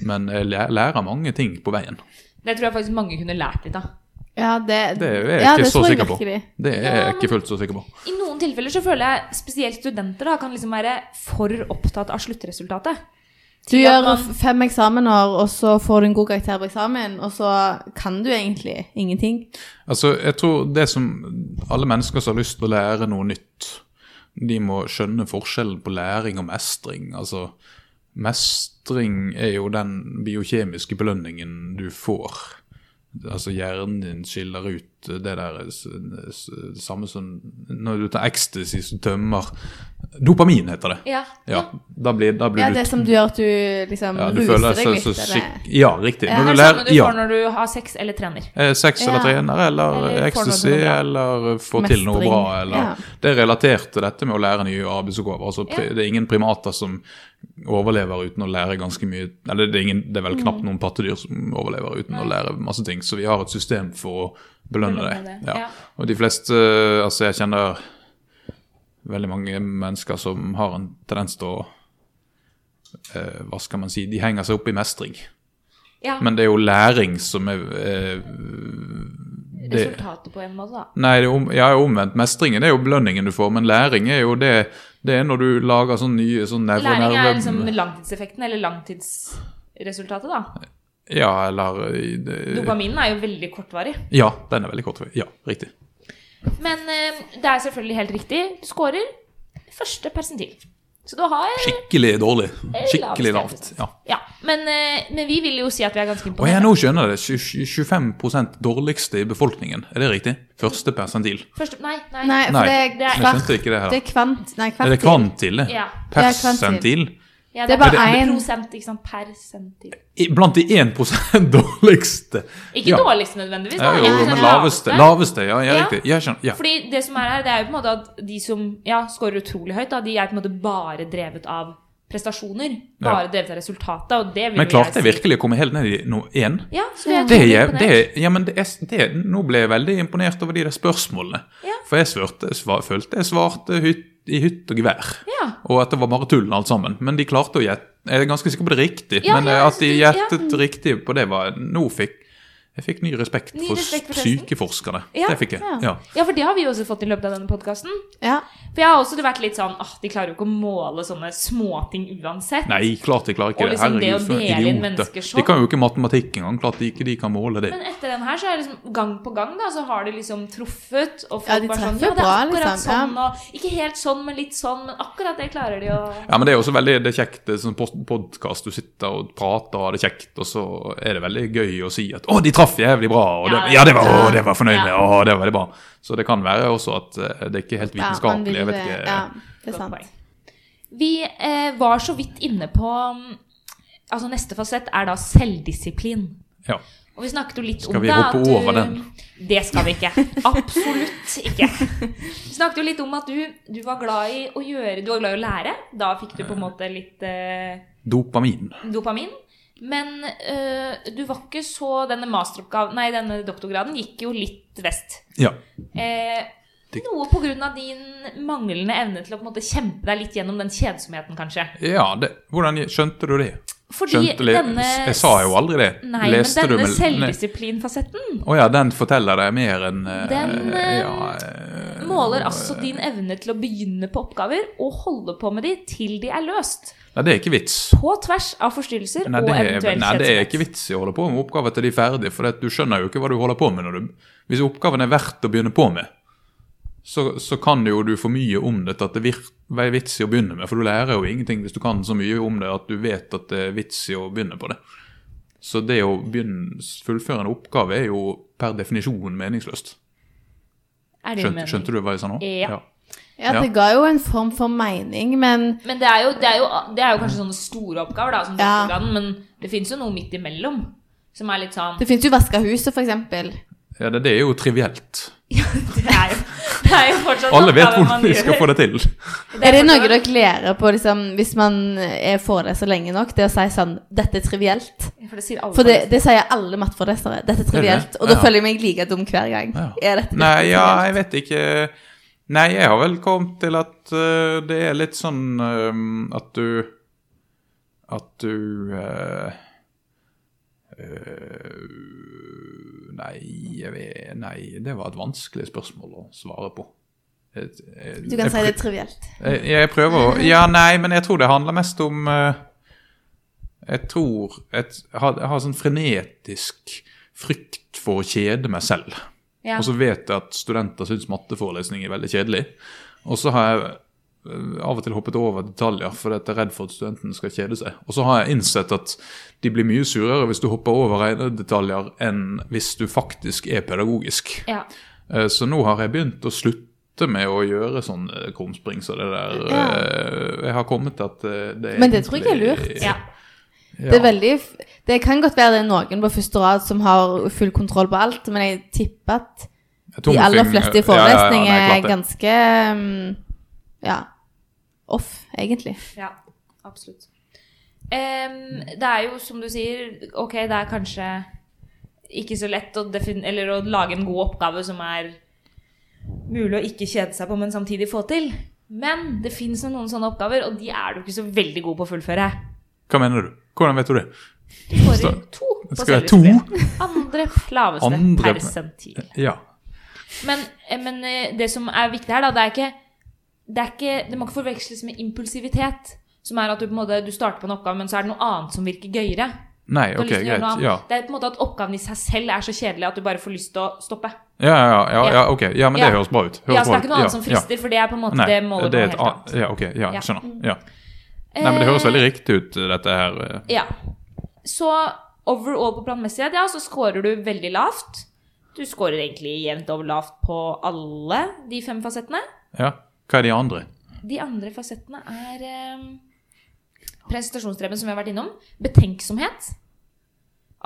Men jeg læ- lærer mange ting på veien.
Det tror jeg faktisk mange kunne lært litt av.
Ja, det,
Det er jeg
ja,
ikke
det
så
tror jeg
sikker på.
virkelig.
Det er jeg ikke fullt så sikker på.
I noen tilfeller så føler jeg spesielt studenter da kan liksom være for opptatt av sluttresultatet.
Du
Til
gjør
at man-
fem eksamener, og så får du en god karakter på eksamen, og så kan du egentlig ingenting.
Altså, jeg tror det som alle mennesker som har lyst til å lære noe nytt, de må skjønne forskjellen på læring og mestring. Altså, mestring er jo den biokjemiske belønningen du får. Altså, hjernen din skiller ut det der s- s- det samme som Når du tar ecstasy, så tømmer Dopamin heter det.
Ja.
Ja, da blir, da blir
Ja,
du
det som du gjør at du liksom
ja, du føler
ruser
deg så, så
deg litt, eller
skikk... Ja, riktig.
Ja,
Når
Det
du
er
lærer
det samme du
Ja.
får når du har sex eller trener.
Eh, Sex eller
Ja.
trener, eller,
Eller får
ecstasy,
noe til noe bra.
eller eh, få til noe
Mestring.
bra. Eller,
Ja.
Det er relatert til dette med å lære nye arbeidsoppgaver. Altså, pri-
Ja.
Det er ingen primater som overlever uten å lære ganske mye Eller det er, ingen, det er vel knapt
Mm.
noen pattedyr som overlever uten å lære masse ting, så vi har et system for å belønne deg.
Belønne det, ja.
Ja. Og de fleste Altså, jeg kjenner veldig mange mennesker som har en tendens til å eh, Hva skal man si De henger seg opp i mestring.
Ja,
Men det er jo læring som er eh, det,
Resultatet på en måte, da.
Nei, det er om, ja, omvendt. Mestringen er jo belønningen du får, men læring er jo det Det er når du lager sånn nye sånn nerve
Læring er
nerve-
liksom langtidseffekten, eller langtidsresultatet,
Eh.
da.
Ja, eller i det-
Dopaminen er jo veldig kortvarig.
Ja, den er veldig kort. Ja, riktig.
Men eh, det er selvfølgelig helt riktig. Du scorer første persentil. Så du har
Skikkelig dårlig. Skikkelig
Lav
lavt.
stemmeprosent.
Ja.
Ja, men, eh, men vi vil jo si at vi er ganske
Og jeg
imponerte.
nå skjønner jeg det. Tju- tju- 25 dårligste i befolkningen. Er det riktig? Første persentil.
Første, nei, nei.
Nei, for
Nei,
det er
jeg
jeg
kvart.
skjønte ikke det her.
Det er kvant... Nei,
Er det
kvartil.
kvantile?
Ja.
Persentil?
Ja,
Det er bare
det-
én.
Prosent, ikke sant. Persentil.
I- Blant de 1 dårligste.
Ikke
Ja.
dårligst nødvendigvis. da.
Ja, jo,
Ikke sant,
men
det
laveste. Laveste, ja. ja
Ja.
riktig. Jeg skjønner. Ja.
Fordi det som er her, det er jo på en måte at de som ja, scorer utrolig høyt, da, de er på en måte bare drevet av prestasjoner, bare drevet av resultatet. Og det vil
Men
jo
klarte jeg
jeg si-
virkelig å komme helt ned i no én?
Ja, så jeg
Det
veldig
er,
imponert.
det er, ja, men det er, det, nå ble jeg veldig imponert over de der spørsmålene.
Ja.
For jeg svørte, sva, følte jeg svarte hytt, i hytt og gevær.
Ja.
Og at det var bare tull alt sammen. Men de klarte å gjette. Jeg er ganske sikker på det riktig,
Ja,
men
ja,
eh, at
altså,
de
du- ja.
gjettet riktig på det, var Nå fikk jeg fikk ny respekt
Ny
for
respekt for testen.
psykeforskere.
Ja,
det fikk jeg.
ja.
Ja.
ja, for det har vi jo også fått i løpet av denne podkasten.
Ja.
For jeg har også vært litt sånn ah, de klarer jo ikke å måle sånne småting uansett.
Nei, klart de klarer ikke
Og liksom det å
for
dele inn
idioter.
mennesker sånn.
De kan jo ikke matematikk engang. Klart de ikke de kan måle det.
Men etter den her, så er det liksom gang på gang, da, så har de liksom truffet. Og folk
Ja, de
bare sånn,
treffer
ja, det
bra,
er akkurat
liksom, ja.
sånn, og ikke helt sånn, men litt sånn. Men akkurat det klarer de å
Ja, men Det er også veldig det er kjekt. Det er sånn podkast. Du sitter og prater og har det kjekt, og så er det veldig gøy å si at 'Å, de traff jævlig bra', og det,
Ja,
ja, det var,
ja.
å, det var jeg fornøyd med',
Ja.
'Å, det var veldig bra'. Så det kan være også at eh, det er ikke helt
Ja, man
vitenskapelig.
vil
jeg vet
det.
ikke.
Ja, det er
Godt
sant.
poeng. Vi eh, var så vidt inne på mm, Altså, neste fasett er da selvdisiplin.
Ja.
Og vi snakket jo litt
Skal
om
vi
det.
hoppe
at du-
over den?
Det skal vi ikke. Absolutt ikke. Vi snakket jo litt om at du, du var glad i å gjøre Du var glad i å lære. Da fikk du på en måte litt eh,
Dopamin.
dopamin. Men eh, du var ikke så Denne masteroppgaven Nei, denne doktorgraden gikk jo litt vest.
Ja.
Eh,
Det-
noe på grunn av din manglende evne til å på en måte kjempe deg litt gjennom den kjedsomheten, kanskje.
ja det, hvordan skjønte du det?
Fordi
Skjønte le- Jeg sa jo aldri det.
Nei, men denne selvdisiplinfasetten
Å ja, den forteller deg mer enn eh,
Den, eh,
ja, eh,
måler altså din evne til å begynne på oppgaver og holde på med de til de er løst.
Nei, det er ikke vits.
På tvers av forstyrrelser
Nei,
og
det er,
eventuell
nei, det er ikke
kjedsomhet.
vits i å holde på med oppgaver til de er ferdige, for det at du skjønner jo ikke hva du holder på med. Når du, hvis oppgaven er verdt å begynne på med, så, så kan jo du for mye om det til at det vir, hva er vits i å begynne med. For du lærer jo ingenting hvis du kan så mye om det at du vet at det er vits i å begynne på det. Så det å begynne, fullføre en oppgave er jo per definisjon meningsløst.
Er det din
Skjønte,
mening?
skjønte du hva jeg sa nå?
Ja.
Ja,
Ja.
det ga jo en form for mening, men
Men det er, jo, det, er jo, det er jo kanskje sånne store oppgaver, da, som
Ja.
doktorgraden, men det fins jo noe midt imellom. Som er litt sånn
det fins jo vaska huset, for eksempel.
Ja, det, det er jo trivielt.
Det er jo, det er jo fortsatt
Alle vet
oppgaver man
hvordan de skal
gjør.
få det til.
Er det noe
fortsatt-
dere lærer på liksom, hvis man er foreleser lenge nok? Det å si sånn 'Dette er trivielt'.
For det sier alle
For det, det sier alle matteforelesere. 'Dette er trivielt'. Og da
Ja.
føler jeg meg like dum hver gang.
Ja.
Er dette virkelig
Nei, ja,
trivielt?
jeg vet ikke. Nei, jeg har vel kommet til at øh, det er litt sånn øhm, at du At du øh, øh, eh, Nei, jeg vet, nei, det var et vanskelig spørsmål å svare på. Jeg, jeg,
Du kan
jeg
si det er
prø-
trivielt.
jeg, Eh, jeg prøver å Ja, nei, men jeg tror det handler mest om øh, Jeg tror et, jeg, har, jeg har sånn frenetisk frykt for å kjede meg selv.
Ja.
Og så vet jeg at studenter syns matteforelesning er veldig kjedelig. Og så har jeg eh, av og til hoppet over detaljer fordi at jeg er redd for at studenten skal kjede seg. Og så har jeg innsett at de blir mye surere hvis du hopper over regnedetaljer enn hvis du faktisk er pedagogisk.
ja.
Eh, Så nå har jeg begynt å slutte med å gjøre sånn, sånne krumsprings og det der.
Ja.
Eh, Jeg har kommet til at eh, det
Men det tror jeg er
egentlig-
lurt.
ja.
Ja.
Det, er veldig, f- det kan godt være det er noen på første rad som har full kontroll på alt, men jeg tipper at
Jeg tror
de
noen
aller
ting-
fleste i
Ja, ja, ja,
forelesning
nei, klart
er
det.
ganske mm, ja, off, egentlig.
Ja, absolutt. Em, det er jo, som du sier, ok, det er kanskje ikke så lett å, defin eller å lage en god oppgave som er mulig å ikke kjede seg på, men samtidig få til. Men det fins noen sånne oppgaver, og de er du ikke så veldig god på å fullføre.
Hva mener du? Hvordan vet du det?
Du får
Så-
inn to på
Skal jeg ha
selvdisiplin. Andre laveste
Andre-
persentil.
Ja.
Men, eh, men eh, det som er viktig her, da, det er ikke Det, er ikke, det må ikke forveksles med impulsivitet. Som er at du, på en måte, du starter på en oppgave, men så er det noe annet som virker gøyere.
Nei,
Du har
ok,
lyst til å gjøre noe
greit.
annet.
Ja.
Det er på en måte at oppgaven i seg selv er så kjedelig at du bare får lyst til å stoppe.
Ja, ja, ja, ja,
Ja.
ok. Ja, men det
Ja.
høres bra ut. Høres
Ja, så det
bra
er
ut.
ikke noe annet som frister, for det er på en
Ja.
måte
Nei, eh,
det målet
det er et
på helt annet.
annet. Ja, ok, ja,
Ja.
jeg skjønner. Ja. Nei, men det høres
Eh,
veldig riktig ut, dette her. eh.
Ja. Så overall på planmessighet, ja, så scorer du veldig lavt. Du scorer egentlig jevnt over lavt på alle de fem fasettene.
Ja. Hva er de andre?
De andre fasettene er eh, presentasjonsdreven, som vi har vært innom. Betenksomhet.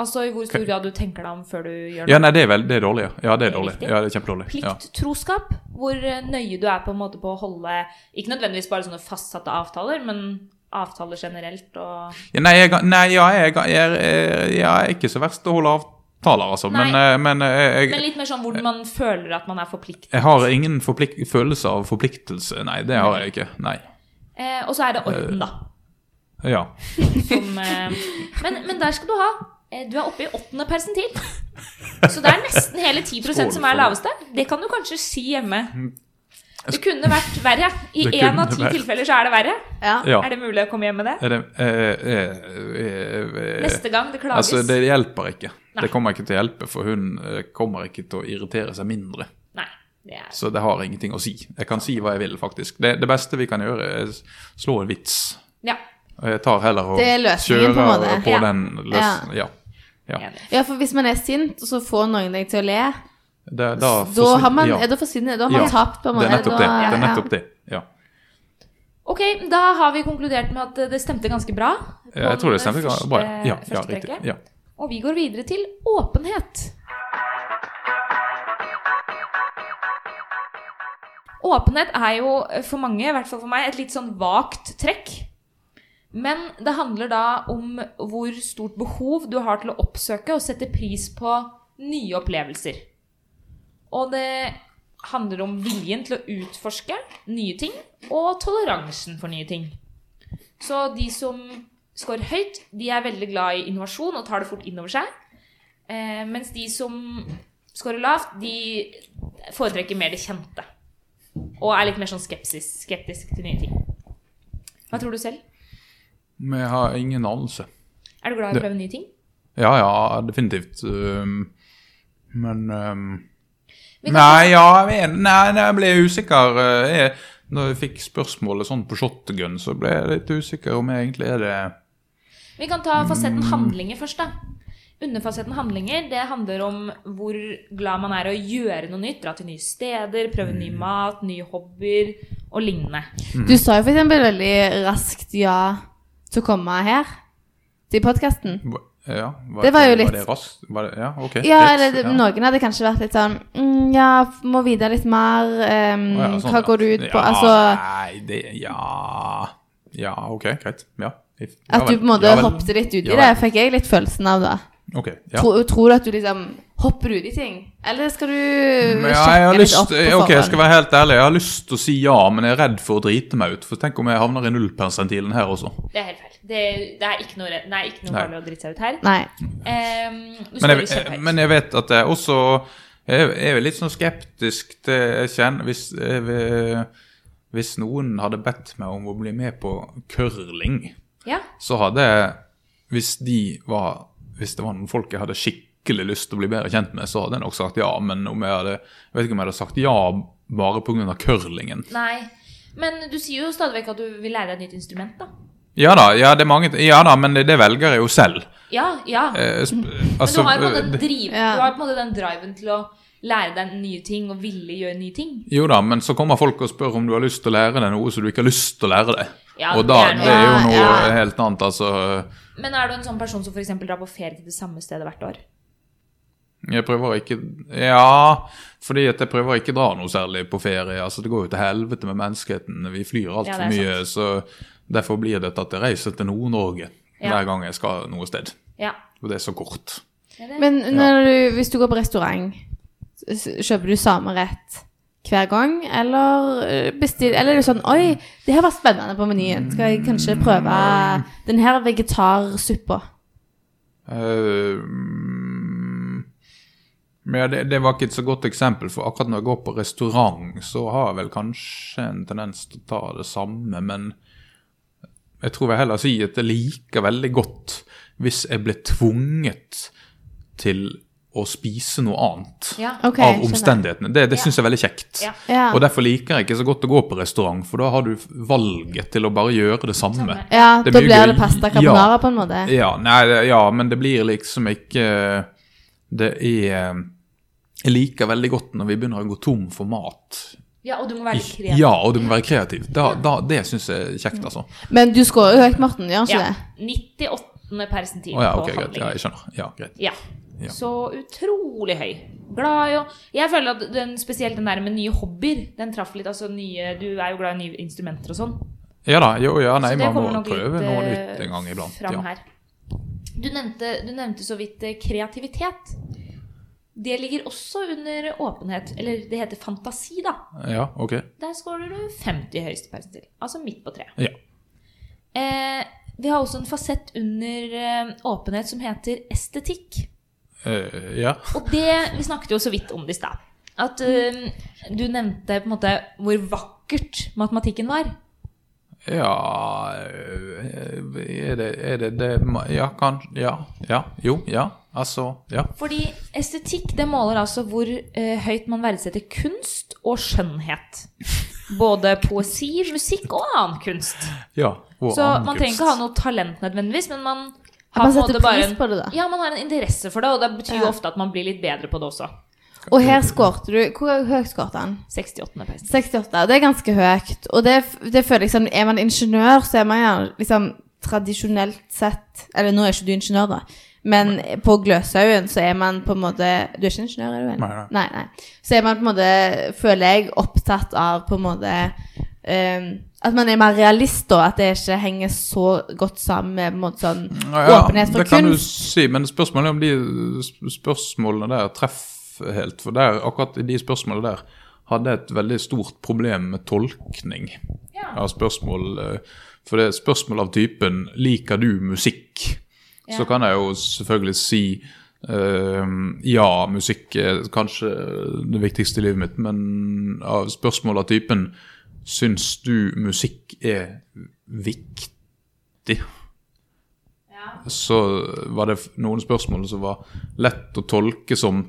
Altså i hvor stor
Ok.
grad du tenker deg om før du gjør noe.
Ja, nei, det er vel, det er dårlig, ja. Ja, det
Det
er
er
dårlig.
viktig.
Ja, det er kjempedårlig. Ja.
Plikttroskap, hvor eh, nøye du er på en måte på å holde Ikke nødvendigvis bare sånne fastsatte avtaler, men avtaler generelt og
Ja, Nei, jeg, nei ja, jeg, jeg, jeg, jeg er ikke så verst til å holde avtaler, altså. Men,
Nei.
eh, men eh, jeg,
Men litt mer sånn hvor man føler at man er forpliktet.
jeg har ingen forplik følelse av forpliktelse. Nei, det har jeg ikke. Nei.
Eh, og så er det orden, da.
Ja.
Som, eh, men, men der skal du ha. eh, Du er oppe i åttende persentil. Så det er nesten hele 10 som er laveste. Det kan du kanskje si hjemme. Det kunne vært verre. I
Mm. Det
én av
kunne
ti
vært.
tilfeller så er det verre.
Ja.
ja.
Er det mulig å komme hjem med det?
Er det eh, eh, eh, eh,
Neste gang det klages.
Altså, det hjelper ikke.
Nei.
Det kommer ikke til å hjelpe, for hun eh, kommer ikke til å irritere seg mindre.
Nei. Det er
Så det har ingenting å si. Jeg kan si hva jeg vil, faktisk. Det, det beste vi kan gjøre, er s- slå en vits.
Ja.
Og Jeg tar heller og
Det er løsningen, på en måte.
på
Ja.
den løsningen. Ja. Ja.
Enig.
ja, for hvis man er sint, og så får noen deg til å le,
Da, da
da
forsvin-
har man,
ja.
ja. da forsvinner, da har man
Ja.
tapt, på en
Det
måte.
er nettopp det.
Da-
det, er
ja.
nettopp det. Ja.
Ok, da har vi konkludert med at det stemte ganske bra. på
Jeg tror det
den
stemmer
første-
bra.
eh,
Ja, ja,
første
riktig.
trekket.
Ja.
Og vi går videre til åpenhet. Åpenhet er jo for mange, i hvert fall for meg, et litt sånn vagt trekk. Men det handler da om hvor stort behov du har til å oppsøke og sette pris på nye opplevelser. Og det handler om viljen til å utforske nye ting og toleransen for nye ting. Så de som scorer høyt, de er veldig glad i innovasjon og tar det fort innover seg. Eh, mens de som scorer lavt, de foretrekker mer det kjente. Og er litt mer sånn skepsis, skeptisk til nye ting. Hva tror du selv?
Men jeg har ingen anelse.
Er du glad i
Det-
å prøve nye ting?
Ja, ja, definitivt. Um, men um,
Vi kan
Nei, ja, jeg men- nei, nei, jeg ble usikker. uh, Jeg, når jeg fikk spørsmålet sånn på shotgun, så ble jeg litt usikker om jeg egentlig er det
Vi kan ta fasetten handlinger først, da. Underfasetten handlinger det handler om hvor glad man er i å gjøre noe nytt. Dra til nye steder, prøve ny mat, nye hobbyer og lignende.
Du sa jo for eksempel veldig raskt ja til å komme her, til podkasten.
hva- Ja, var,
Det var
Var
jo litt-
det raskt? Var det, ja, ok.
Ja,
greit,
eller det,
ja.
noen hadde kanskje vært litt sånn mm, Ja, må vite litt mer. ehm,
Å, ja, sånn,
hva
ja.
går det ut på?
Ja,
Altså
Nei, det Ja, ja ok, greit. Ja. If- ja
at du
vel,
på en måte
ja vel.
hoppet litt uti
Ja
det,
vel.
fikk jeg litt følelsen av da.
Ok, ja.
Tro, tror du at du liksom hopper uti ting? Eller skal du
Men
sjekke
Mm, Ja, jeg har
litt
lyst,
opp på
ok, jeg skal
forhånd?
være helt ærlig. Jeg har lyst til å si ja, men jeg er redd for å drite meg ut. For tenk om jeg havner i nullpersentilen her også.
Det er helt feil. Det, det er ikke noe, re- det er ikke noe
Nei.
farlig å drite seg ut her.
Nei.
Ehm, du
Men
står
jeg,
kjempehøyt.
men jeg vet at jeg også jeg er jo litt sånn skeptisk til jeg kjenner, hvis, jeg- hvis noen hadde bedt meg om å bli med på curling,
Ja,
så hadde jeg Hvis de var Hvis det var noen folk jeg hadde skikkelig lyst til å bli bedre kjent med, så hadde jeg nok sagt ja. Men om jeg hadde Jeg vet ikke om jeg hadde sagt ja bare pga. curlingen.
nei. Men du sier jo stadig vekk at du vil lære deg et nytt instrument, da.
Ja da, ja, det er mange, ja da, men det, det velger jeg jo selv.
Ja, ja.
Eh, sp-
Mm. Men du
altså,
har jo på en
eh,
måte den,
det-
driv,
Ja.
du har på en måte den driven til å lære deg nye ting og ville gjøre nye ting.
Jo da, men så kommer folk og spør om du har lyst til å lære deg noe så du ikke har lyst til å lære deg.
Ja,
og da,
det er noe-
det er jo noe
Ja, ja.
helt annet, altså.
Men er du en sånn person som for eksempel drar på ferie til det samme stedet hvert år?
Jeg prøver å ikke Ja, fordi at jeg prøver å ikke dra noe særlig på ferie. Altså, det går jo til helvete med menneskeheten. Vi flyr
Ja,
altfor
det er
mye, så derfor blir det at jeg reiser til Nord-Norge
Ja.
hver gang jeg skal noe sted.
Ja.
Og det er så kort.
Er det-
Men når du, hvis du går på restaurant, s- kjøper du samme rett hver gang? Eller eh, bestill Eller er det sånn Oi, det her var spennende på menyen. Skal jeg kanskje prøve den her vegetarsuppa?
Eh, mm, Men ja, det, det var ikke et så godt eksempel, for akkurat når jeg går på restaurant, så har jeg vel kanskje en tendens til å ta det samme, men jeg tror jeg heller sier at jeg liker veldig godt hvis jeg ble tvunget til å spise noe annet
Ja.
Ok,
av
skjønner.
omstendighetene. Det, det syns jeg er veldig kjekt.
Ja.
Ja.
Og derfor liker jeg ikke så godt å gå på restaurant, for da har du valget til å bare gjøre det samme.
Samme.
Ja,
Det
da
blir
blir
jo-
det pasta
ja.
carbonara på en måte.
Ja, nei, det- ja, men det blir liksom ikke Det er eh, Jeg liker veldig godt når vi begynner å gå tom for mat.
ja, og du må være litt kreativ. Mm.
Ja, og du må være kreativ. Da, da, det syns jeg er kjekt, altså.
Men du scorer jo høyt, Morten, gjør ikke
Ja,
det?
98. persentil
Å ja,
på
ok, greit.
handlinger.
Ja, jeg skjønner. Ja, greit.
Ja.
Ja.
Så utrolig høy. Glad i å Jeg føler at den, spesielt den der med nye hobbyer, den traff litt. Altså nye Du er jo glad i nye instrumenter og sånn.
Ja da, jo ja, nei,
Så det
man må
kommer nok
prøve
litt,
noe
eh,
nytt en gang iblant.
Fram
Ja.
her. Du, nevnte, du nevnte så vidt eh, kreativitet. Det ligger også under åpenhet, eller det heter fantasi, da.
ja, ok.
Der scorer du 50 i høyeste persentil. Altså midt på treet.
Ja.
Eh, vi har også en fasett under eh, åpenhet som heter estetikk.
Eh, ja.
Og det, vi snakket jo så vidt om det i stad. At eh, du nevnte på en måte hvor vakkert matematikken var.
Ja eh, Er det er det, det ma- Ja, kan Ja. ja, Jo. Ja. Altså Ja.
Fordi estetikk det måler altså hvor eh, høyt man verdsetter kunst og skjønnhet. Både poesi, musikk og annen kunst.
ja. Og
Så
annen
man trenger
kunst.
ikke ha noe talent nødvendigvis, men man
At man
på en måte
setter
bare
pris på det, da.
Ja, man har en interesse for det, og det betyr jo
Ja.
ofte at man blir litt bedre på det også.
Og her skårte du Hvor høyt skårte han?
68. pest.
68. Det er ganske høyt. Og det, det føler jeg sånn Er man ingeniør, så er man gjerne liksom tradisjonelt sett Eller nå er ikke du ingeniør, da. Men på Gløshaugen så er man på en måte Du er ikke ingeniør, er du enig?
Nei,
nei. Så er man på en måte, føler jeg, opptatt av på en måte eh, At man er mer realist, da. At det ikke henger så godt sammen med på en måte sånn
Mm, Ja, ja,
åpenhet for
Det kan du
kunst.
si, men spørsmålet er om de sp- spørsmålene der treffer helt. For der, akkurat i de spørsmålene der hadde jeg et veldig stort problem med tolkning av spørsmål. eh, For det er spørsmål av typen 'liker du musikk?' Så kan jeg jo selvfølgelig si eh, ja, musikk er kanskje det viktigste i livet mitt, men av spørsmål av typen 'Syns du musikk er viktig?' så var det f- noen spørsmål som var lett å tolke som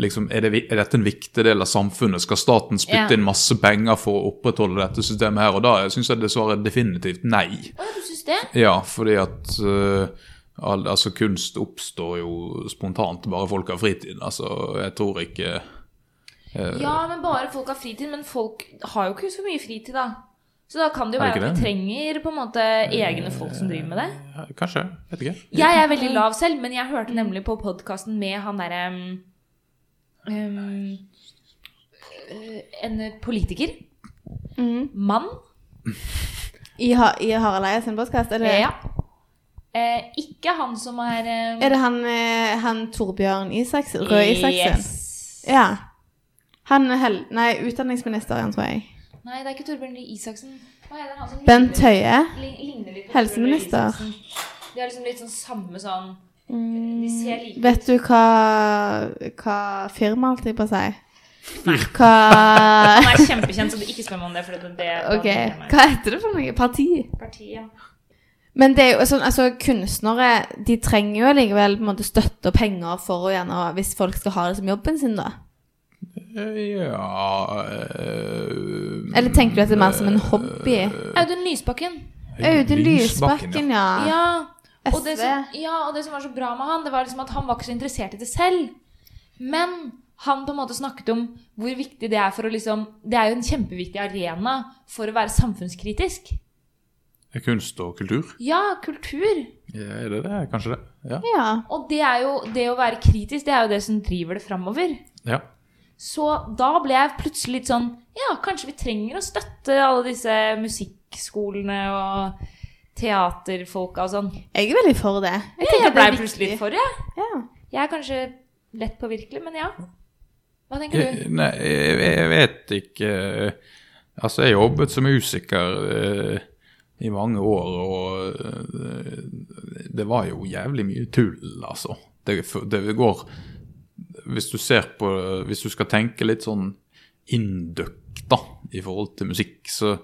liksom, er, det, vi- er dette en viktig del av samfunnet? Skal staten
Ja.
spytte inn masse penger for å opprettholde dette systemet her? Og da syns jeg det svaret er definitivt nei.
Å ja, du syns det?
Ja, fordi at eh, al altså, kunst oppstår jo spontant, bare folk har fritid. Altså, jeg tror ikke
Ja, men bare folk har fritid. Men folk har jo ikke så mye fritid, da. Så da kan det jo
Er det
være
ikke
at vi trenger på en måte egne folk som driver med det.
Kanskje, vet ikke.
Eh,
Jeg er veldig lav selv, men jeg hørte nemlig på podkasten med han derre um, um, øh, En politiker.
Mhm.
Mann.
I, ha, I Harald Eia sin podkast, er det
Ja. Eh, ikke han som er um,
Er det han, eh, han Torbjørn Isaksen? Røe Isaksen?
Yes.
Ja. Han er hel... Nei, utdanningsministeren, tror jeg.
Nei, det er ikke Torbjørn Røe Isaksen. Hva er det han som
Bent Høie.
ligner- ligner litt på
Helseminister.
Torbjørn Røe Isaksen? De er liksom litt sånn samme sånn De ser like ut.
Vet du hva, hva firma, holdt jeg på å si? Hva
Han er kjempekjent, så du ikke spør meg om det. For det, det, det
Ok, hva heter det for noe? Parti?
Partiet.
Men det er jo sånn, altså kunstnere de trenger jo likevel på en måte støtte og penger for å gjerne, hvis folk skal ha det som jobben sin, da.
Eh, Ja eh,
Eller tenker du at det er mer som en hobby?
Audun Lysbakken.
Audun Lysbakken, ja.
Ja. Og det,
SV.
som, ja, og det som var så bra med han, det var liksom at han var ikke så interessert i det selv. Men han på en måte snakket om hvor viktig det er for å liksom Det er jo en kjempeviktig arena for å være samfunnskritisk.
ja. Kunst og kultur?
Ja, kultur.
Ja, er det det? Kanskje det? Ja.
Ja.
Og det er jo det å være kritisk, det er jo det som driver det framover.
ja.
Så da ble jeg plutselig litt sånn Ja, kanskje vi trenger å støtte alle disse musikkskolene og teaterfolka og sånn.
Jeg er veldig for det. Jeg
Jeg
tenker
blei
at det er
plutselig
viktig.
litt for det.
Ja.
Jeg er kanskje lett påvirkelig, men ja. Hva tenker du?
Jeg, Eh, nei, jeg, jeg vet ikke eh, Altså, jeg jobbet som musiker eh, i mange år, og eh, det var jo jævlig mye tull, altså. Det, det går Hvis du ser på Hvis du skal tenke litt sånn indukt, da, i forhold til musikk, så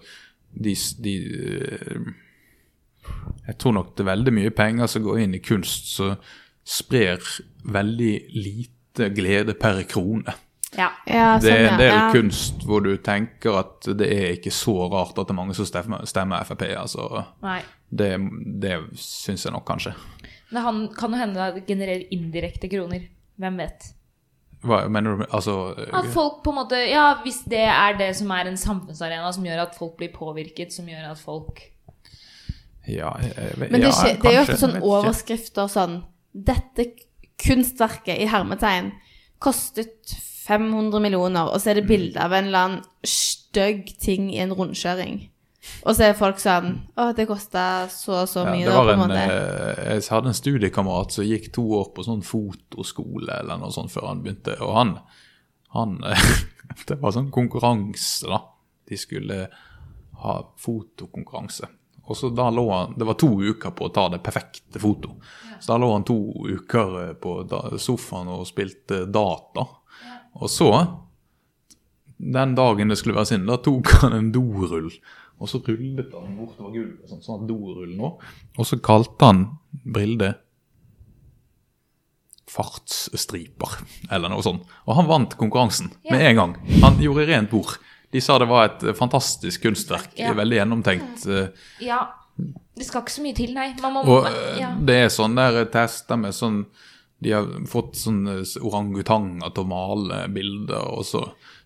de, s- de eh, Jeg tror nok det er veldig mye penger som går inn i kunst, som sprer veldig lite glede per krone.
Ja.
Ja,
Det er en
sånn,
del
ja. Ja.
kunst hvor du tenker at det er ikke så rart at det er mange som stemmer, stemmer Frp. Altså,
Nei.
det det syns jeg nok kanskje.
Men han kan jo hende det genererer indirekte kroner. Hvem vet.
Hva mener du med Altså
At folk på en måte Ja, hvis det er det som er en samfunnsarena som gjør at folk blir påvirket, som gjør at folk
Ja, jeg vet
Men det, er ikke,
ja,
det er jo
kanskje,
ofte sånn
jeg vet ikke.
overskrifter sånn Dette kunstverket i hermetegn kostet
Mm.
500 millioner, og så er det bilde av en eller annen stygg ting i en rundkjøring. Og så er folk sånn Å, det kosta så og så mye,
Ja, det
da,
var
på en
en,
måte.
eh, jeg hadde en studiekamerat som gikk to år på sånn fotoskole eller noe sånt før han begynte, og han, han Det var sånn konkurranse, da. De skulle ha fotokonkurranse. Og så da lå han, Det var to uker på å ta det perfekte foto. Så da lå han to uker eh, på da- sofaen og spilte data. Og så den dagen det skulle være inn, da tok han en dorull. Og så rullet han bortover gulvet, sånn, sånn at dorullen nå. Og så kalte han Brilde fartsstriper, eller noe sånt. Og han vant konkurransen med en gang. Han gjorde rent bord. De sa det var et eh, fantastisk kunstverk.
Ja.
Veldig gjennomtenkt. eh,
Ja. Det skal ikke så mye til, nei. Man må,
og
man-
eh,
ja.
det er sånn der tester med sånn De har fått sånne orangutanger til å male bilder, og så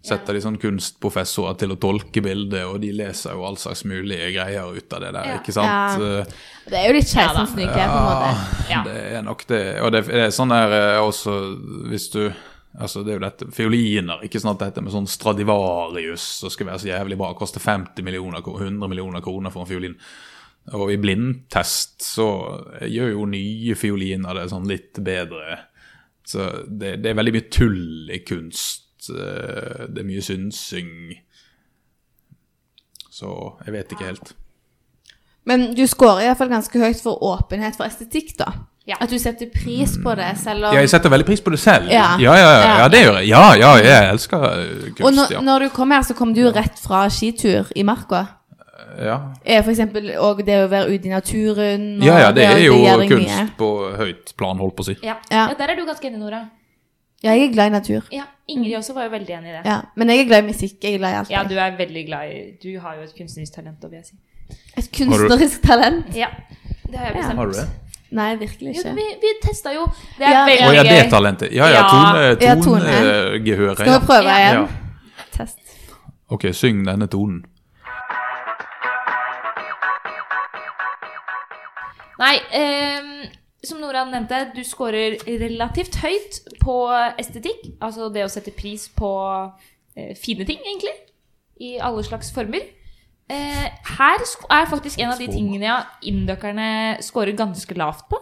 setter de sånn kunstprofessorer til å tolke bildet, og de leser jo all slags mulige greier ut av det der,
Ja.
ikke sant?
Ja.
Eh,
Det er jo litt
Ja da.
Keisers nye klær, på en måte.
Ja.
Det er nok det. Og det, det er sånn der eh, også hvis du Altså, det er jo dette Fioliner, ikke sånn at dette med sånn Stradivarius som skal være så jævlig bra, koster 50 millioner kro- 100 millioner kroner for en fiolin. Og i blindtest så gjør jo nye fioliner det sånn litt bedre. Så det, det er veldig mye tull i kunst. eh, Det er mye synsing. Så jeg vet ikke helt.
Men du scorer iallfall ganske høyt for åpenhet for estetikk, da.
Ja.
At du setter pris på det, selv om
Ja, jeg setter veldig pris på det selv. Ja, ja,
Ja.
ja, ja,
Ja.
det gjør jeg. Ja, ja, jeg elsker eh,
Og når,
kunst, ja.
når du kom her, så kom du jo rett fra skitur i marka.
Ja,
Eh, For eksempel og det å være ute i naturen. Og
ja, ja det er jo
gjør deg mye.
kunst på høyt plan, holdt på å si.
Ja.
Ja.
ja, der er du ganske enig, Nora.
Ja, jeg er glad i natur.
Ja, Ingrid også var jo veldig enig i det.
Ja. Men jeg er glad i musikk. Jeg er glad i alt.
Mm. Ja,
jeg.
du er veldig glad i Du har jo et kunstnerisk talent, da, vil jeg si.
Et kunstnerisk talent?
Ja, det har jeg
Ja.
bestemt.
Har du det?
Nei, virkelig
Jo,
ikke.
vi, vi testa jo. Det er
Ja,
Å
veldig
ja, det
gøy.
talentet. Ja, ja,
Ja.
Ja,
tone-
tone.
tonegehøret.
Skal vi
Tone,
prøve
Ja.
igjen?
ja.
Test.
Ok, syng denne tonen.
Nei, ehm, som Nora nevnte, du scorer relativt høyt på estetikk. Altså det å sette pris på eh, fine ting, egentlig. I alle slags former. Eh, her sk- er faktisk en av de tingene ja, indøkerne scorer ganske lavt på.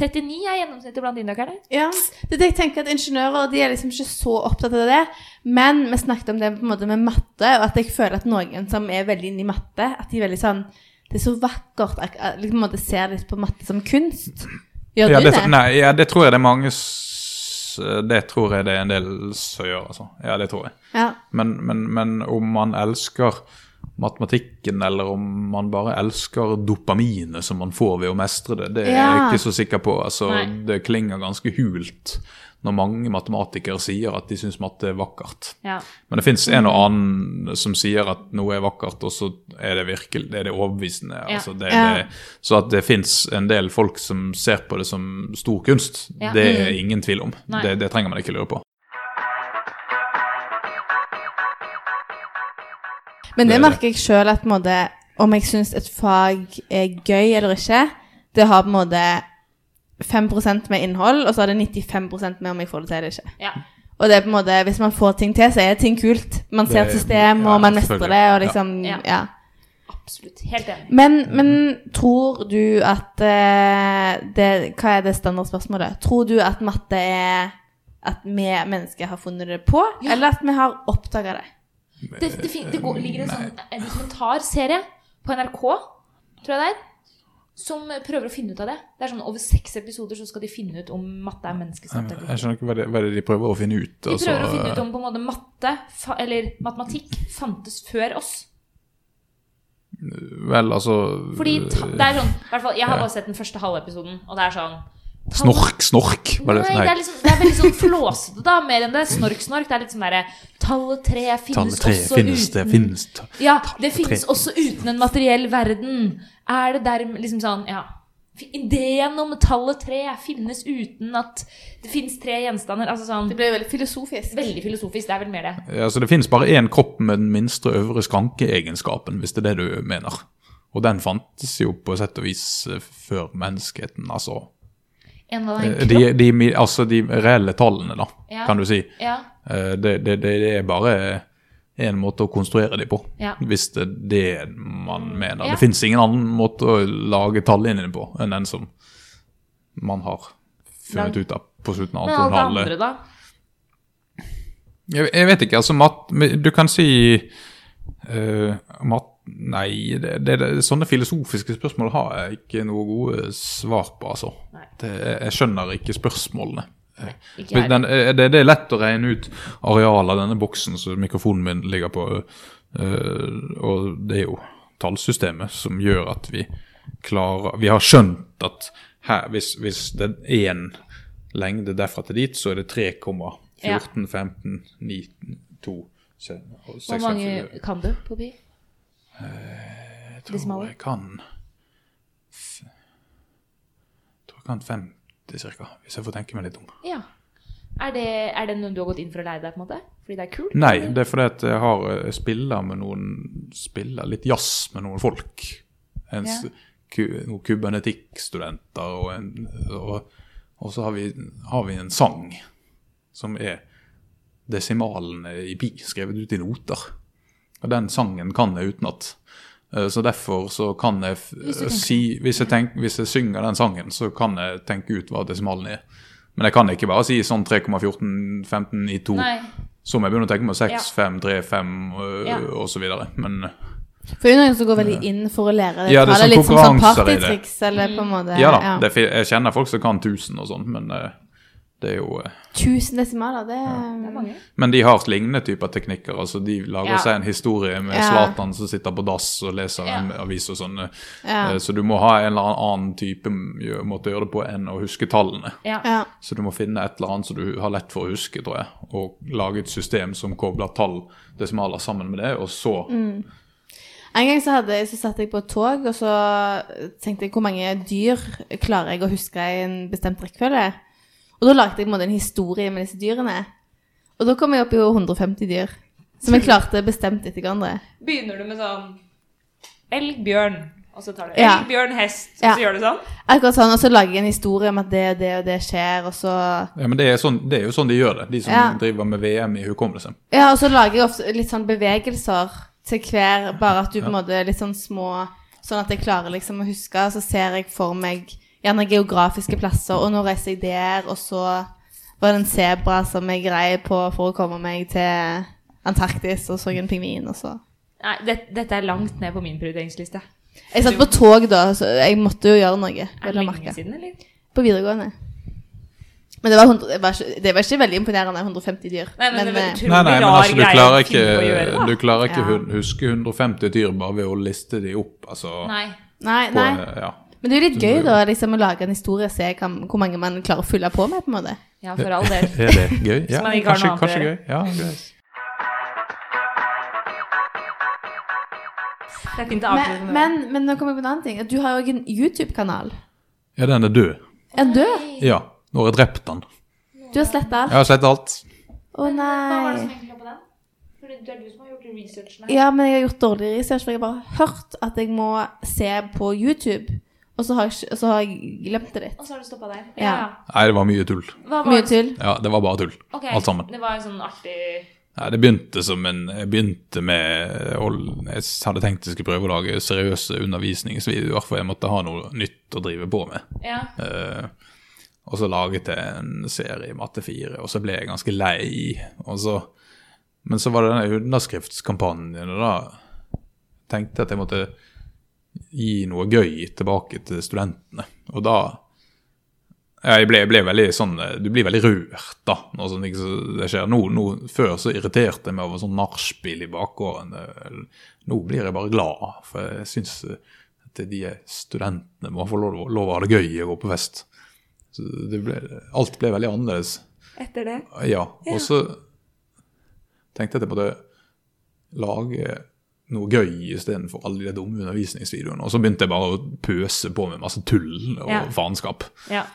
39 er gjennomsnittet blant indøkerne.
Ja, det er det jeg tenker at ingeniører de er liksom ikke så opptatt av det. Men vi snakket om det på en måte med matte, og at jeg føler at noen som er veldig inne i matte, at de er veldig sånn Det er så vakkert. ak- at Liksom på en måte ser litt på matte som kunst. Gjør
Ja
du
det,
det?
nei, ja, det tror jeg det er mange s- Det tror jeg det er en del som gjør, altså. Ja, det tror jeg.
Ja.
Men, men, men om man elsker matematikken, eller om man bare elsker dopaminet som man får ved å mestre det, det er
Ja.
jeg ikke så sikker på. Altså,
Nei.
det klinger ganske hult når mange matematikere sier at de syns matte er vakkert.
Ja.
Men det fins en og
Mm.
annen som sier at noe er vakkert, og så er det virkelig, det er det overbevisende.
Ja.
Altså det,
Ja.
det, så at det fins en del folk som ser på det som stor kunst,
Ja. Mm.
det er ingen tvil om.
Nei.
Det, det trenger man ikke lure på.
Men det
det er
merker jeg sjøl at på en måte, om jeg syns et fag er gøy eller ikke, det har på en måte 5 med innhold, og så er det 95 med om jeg får det til eller ikke.
Ja.
Og det er på en måte, hvis man får ting til, så er ting kult. Man ser
Det-
et system,
ja,
og man mestrer
selvfølgelig.
det, og liksom, ja.
Ja. Absolutt. Helt enig.
Men, men
Mm.
tror du at eh, det, Hva er det standardspørsmålet? Tror du at matte er at vi mennesker har funnet det på,
Ja.
eller at vi har oppdaga det?
Det, det, fin- det går, ligger en
eh,
sånn en dokumentarserie på NRK, tror jeg det er, som prøver å finne ut av det. Det er sånn Over seks episoder så skal de finne ut om matte er
Jeg
menneskeskapt. eller ikke.
skjønner ikke hva det, hva det er de prøver å finne ut.
De
altså,
prøver å finne ut om på en måte matte, fa eller matematikk, fantes før oss.
Vel, altså
Fordi ta, det er sånn i hvert fall, Jeg har bare sett den første halve episoden, og det er sånn
Snork, snork! Var
Nei,
det,
det er, liksom, det er veldig sånn flåsete, da. Mer enn det. Snork, snork. Det er litt sånn derre Tallet tre finnes også uten
finnes det.
Ja, det
på
finnes
tre.
også uten en materiell verden. Er det dermed liksom sånn, ja Fi- Ideen om tallet tre finnes uten at det finnes tre gjenstander. Altså sånn
Det ble veldig filosofisk.
Veldig filosofisk. Det er vel mer det.
Ja, så det finnes bare én kropp med den minste øvre skrankeegenskapen, hvis det er det du mener. Og den fantes jo på sett og vis eh, før menneskeheten, altså.
En av
Eh,
en
De,
kropp.
de, mi- altså de reelle tallene, da,
Ja.
kan du si.
Ja.
Eh, Det, det, det, det er bare en måte å konstruere de på.
Ja.
Hvis det er det man mener.
Ja.
Det fins ingen annen måte å lage tallinjene på enn den som man har funnet
Lag-
ut av på slutten av
Men alt det
antonhallet.
andre, da?
Jeg, jeg vet ikke, altså mat, men Du kan si eh, mat, Nei, det, det, det, sånne filosofiske spørsmål har jeg ikke noe gode svar på, altså.
Nei.
Det, jeg skjønner ikke spørsmålene.
Ikke
Men
jeg.
Den, eh, det, det er lett å regne ut arealet av denne boksen som mikrofonen min ligger på. eh, og det er jo tallsystemet som gjør at vi klarer Vi har skjønt at her, hvis, hvis det er én lengde derfra til dit, så er det 3,14, 15, 9, 2, 6,
Hvor mange kan du på pi?
Jeg tror
desimaler?
jeg kan f- Jeg tror jeg kan 50 ca., hvis jeg får tenke meg litt om.
Ja. Er det, er det noe du har gått inn for å lære deg, på en måte? Fordi det er kult?
Nei,
eller?
det er fordi at jeg har eh, spiller med noen Spiller litt jazz med noen folk. En s-
Ja.
ku- noen kubernetikkstudenter og en og, og så har vi, har vi en sang som er desimalene i pi skrevet ut i noter. Og den sangen kan jeg utenat. Eh, Så derfor så kan jeg f-
Hvis du tenker-
si hvis jeg, tenk, hvis jeg synger den sangen, så kan jeg tenke ut hva desimalen er. Men jeg kan ikke bare si sånn 3,14, 15, 92
Nei.
så må jeg begynne å tenke meg 6,
Ja.
5, 3, 5 øh,
Ja.
og så videre. Men øh,
For det er noen som går veldig inn for å lære det.
Ja, det er sånn
tallet, litt som sånn
konkurranser i det.
partytriks, eller
Mm.
på en måte.
ja da, det er fi- jeg kjenner folk som kan 1000 og sånn, men øh, det er jo øh,
Tusen desimaler, det um,
Det er
er
mange.
Men de har lignende typer teknikker. altså De lager
Ja.
seg en historie med
Ja.
Zlatan som sitter på dass og leser en
Ja.
avis og sånn. øh,
Ja.
øh, Så du må ha en eller annen annen type gjø- måte å gjøre det på enn å huske tallene.
Ja.
ja.
Så du må finne et eller annet som du har lett for å huske, tror jeg. Og lage et system som kobler tall desimaler sammen med det, og så
En gang så, hadde, jeg- så satt jeg på et tog, og så tenkte jeg hvor mange dyr klarer jeg å huske i en bestemt rekkefølge. Og da lagde jeg på en måte en historie med disse dyrene. Og da kom jeg opp i 150 dyr, som jeg klarte bestemt etter hverandre.
Begynner du med sånn elg, bjørn, og så tar du
Ja.
elg, bjørn, hest, og
Ja.
så gjør du sånn?
Akkurat sånn, og så lager jeg en historie om at det og det og det skjer, og så
Ja, men det er, sånn, det er jo sånn de gjør det, de som
Ja.
driver med VM i hukommelse.
Ja, og så lager jeg ofte litt sånn bevegelser til hver, bare at du på en måte er litt sånn små, sånn at jeg klarer liksom å huske, og så ser jeg for meg gjerne geografiske plasser, og nå reiser jeg der, og så var det en zebra som jeg grei på for å komme meg til Antarktis, og så en pingvin, og så...
Nei, det, dette er langt ned på min prioriteringsliste.
Jeg satt på tog da, så jeg måtte jo gjøre noe,
Er
vel
det
å
lenge
merke,
siden, eller?
på videregående. Men det var, 100, det, var ikke, det var ikke veldig imponerende, 150 dyr.
Nei, men, det var
eh,
utrolig
Nei, nei, men
rar
altså, du
greie
klarer
å
ikke,
finne på å gjøre, da.
du klarer ikke
Ja.
hun- huske 150 dyr bare ved å liste de opp, altså.
Nei.
nei,
på,
nei.
eh, Ja.
Men det er jo litt
Mm.
gøy da, liksom, å lage en historie og se hva, hvor mange man klarer å fylle på med. på en måte.
Ja, for all del.
Er det gøy? Ja,
man ikke har
kanskje,
noe annet å
kanskje gøy.
gjøre.
Ja, greit.
Det er fint å
Men,
avslutte
men,
med
men nå kommer jeg på en annen ting. Du har jo også en YouTube-kanal.
Ja, den er død.
Er den død?
Ja. Nå har jeg drept den.
Du har sletta
Jeg
alt.
har sett alt.
Å nei.
egentlig lå på den? Fordi det er du som har gjort researchen
Ja, men jeg har gjort dårlig research, for jeg har bare hørt at jeg må se på YouTube. Og så har jeg, ikke- og så har jeg glemt det litt.
Og så har du stoppa der.
Ja.
Nei, det var mye tull.
Hva var
Mye
det-
tull.
Ja, det var bare tull.
Ok,
Alt sammen.
Det var en sånn artig
Nei, det begynte som en Jeg begynte med å, Jeg hadde tenkt jeg skulle prøve å lage seriøse undervisningsvideoer, for jeg måtte ha noe nytt å drive på med.
Ja.
Eh, og så laget jeg en serie i Matte 4, og så ble jeg ganske lei. Og så, men så var det denne underskriftskampanjen, og da tenkte jeg at jeg måtte gi noe gøy tilbake til studentene. Og da ja, jeg ble, jeg ble veldig sånn, eh, Du blir veldig rørt da, når sånne ting som det skjer. Nå, nå, før så irriterte jeg meg over sånn nachspiel i bakgården. eh, Nå blir jeg bare glad, for jeg syns eh, at de studentene må få lov, lov å ha det gøy og gå på fest. Så det ble, alt ble veldig annerledes.
Etter det.
Ja, og så tenkte jeg at jeg måtte lage noe gøy istedenfor alle de dumme undervisningsvideoene. Og så begynte jeg bare å pøse på med masse tull og
Ja.
faenskap.
Ja.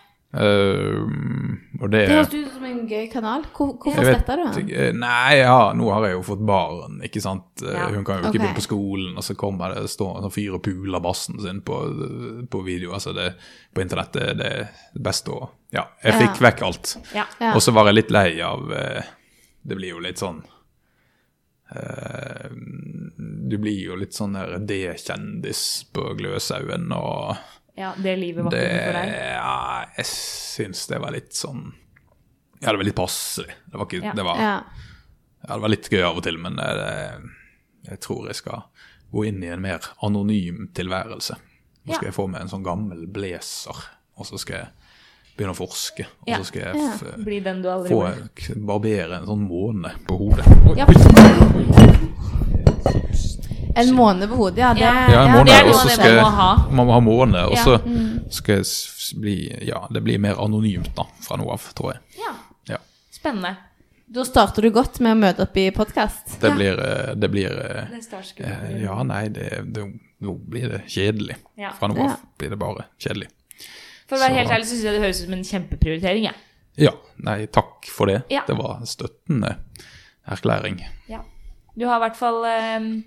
Ehm, og det,
Det høres ut som en gøy kanal. Hvor, hvorfor
jeg vet
sletta du den?
ikke- Nei, ja, nå har jeg jo fått barn, ikke sant. Eh,
Ja.
Hun kan jo ikke
Ok.
begynne på skolen, og så kommer det står en sånn fyr og puler bassen sin på, på video. Altså, det, på internett det er det beste å Ja, jeg
Ja.
fikk vekk alt.
ja.
Ja.
Og så var jeg litt lei av eh, Det blir jo litt sånn eh, Du blir jo litt sånn der D-kjendis på Gløshaugen og
Ja, det livet var
det,
ikke noe for deg.
ja, Jeg syns det var litt sånn Ja, det var litt passelig. Det var ikke
Ja.
det, var, ja,
Ja.
det var litt gøy av og til, men det, det, jeg tror jeg skal gå inn i en mer anonym tilværelse. Nå skal
Ja.
jeg få meg en sånn gammel blazer, og så skal jeg begynne å forske. Og
Ja.
så skal jeg f
Bli den du aldri
få
ble.
k- barbere en sånn måne på hodet.
Ja.
En måned på hodet, ja. Det,
Ja, en måne,
det er
og
noe
så
av det
skal
man må
jeg,
ha.
man må ha måne, og
Ja. Mm.
så skal jeg s- bli Ja, det blir mer anonymt da, fra nå av, tror jeg.
Ja,
Ja.
spennende.
Da starter du godt med å møte opp i podkast.
Det
Ja.
blir, eh, det blir eh,
Det er startskudd.
eh, Ja, nei, det, det, nå blir det kjedelig.
Ja.
Fra nå
Ja.
av blir det bare kjedelig.
For å være
Så-
helt ærlig så syns jeg det høres ut som en kjempeprioritering. jeg.
Ja, nei, takk for det.
Ja.
Det var en støttende erklæring.
Du har i hvert fall eh,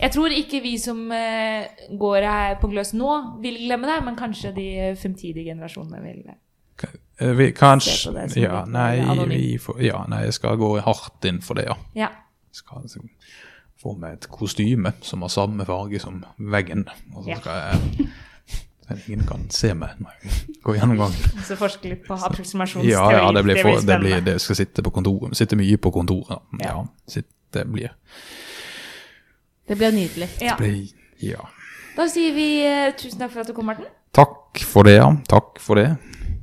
Jeg tror ikke vi som eh, går her på gløs nå, vil glemme det, men kanskje de fremtidige generasjonene vil det.
Eh, Vi,
Se
kanskje
på det som
ja
litt
nei,
mer anonym.
vi får, ja, nei, jeg skal gå hardt inn for det, ja.
Ja.
skal liksom få meg et kostyme som har samme farge som veggen. Og
Ja.
så skal jeg så Ingen kan se meg når jeg går gjennom gangen.
Så forske litt på approksimasjonsteori.
Ja, ja, det blir, for, det blir
spennende.
det skal sitte på kontoret. Sitte mye på kontoret.
Ja.
Ja, sitt- det blir,
Det blir nydelig.
Ja.
blir Ja.
Da sier vi eh, tusen takk for at du kom, Morten.
Takk for det, ja. Takk for det.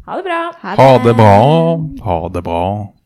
Ha det bra.
Ha det bra. Ha det bra.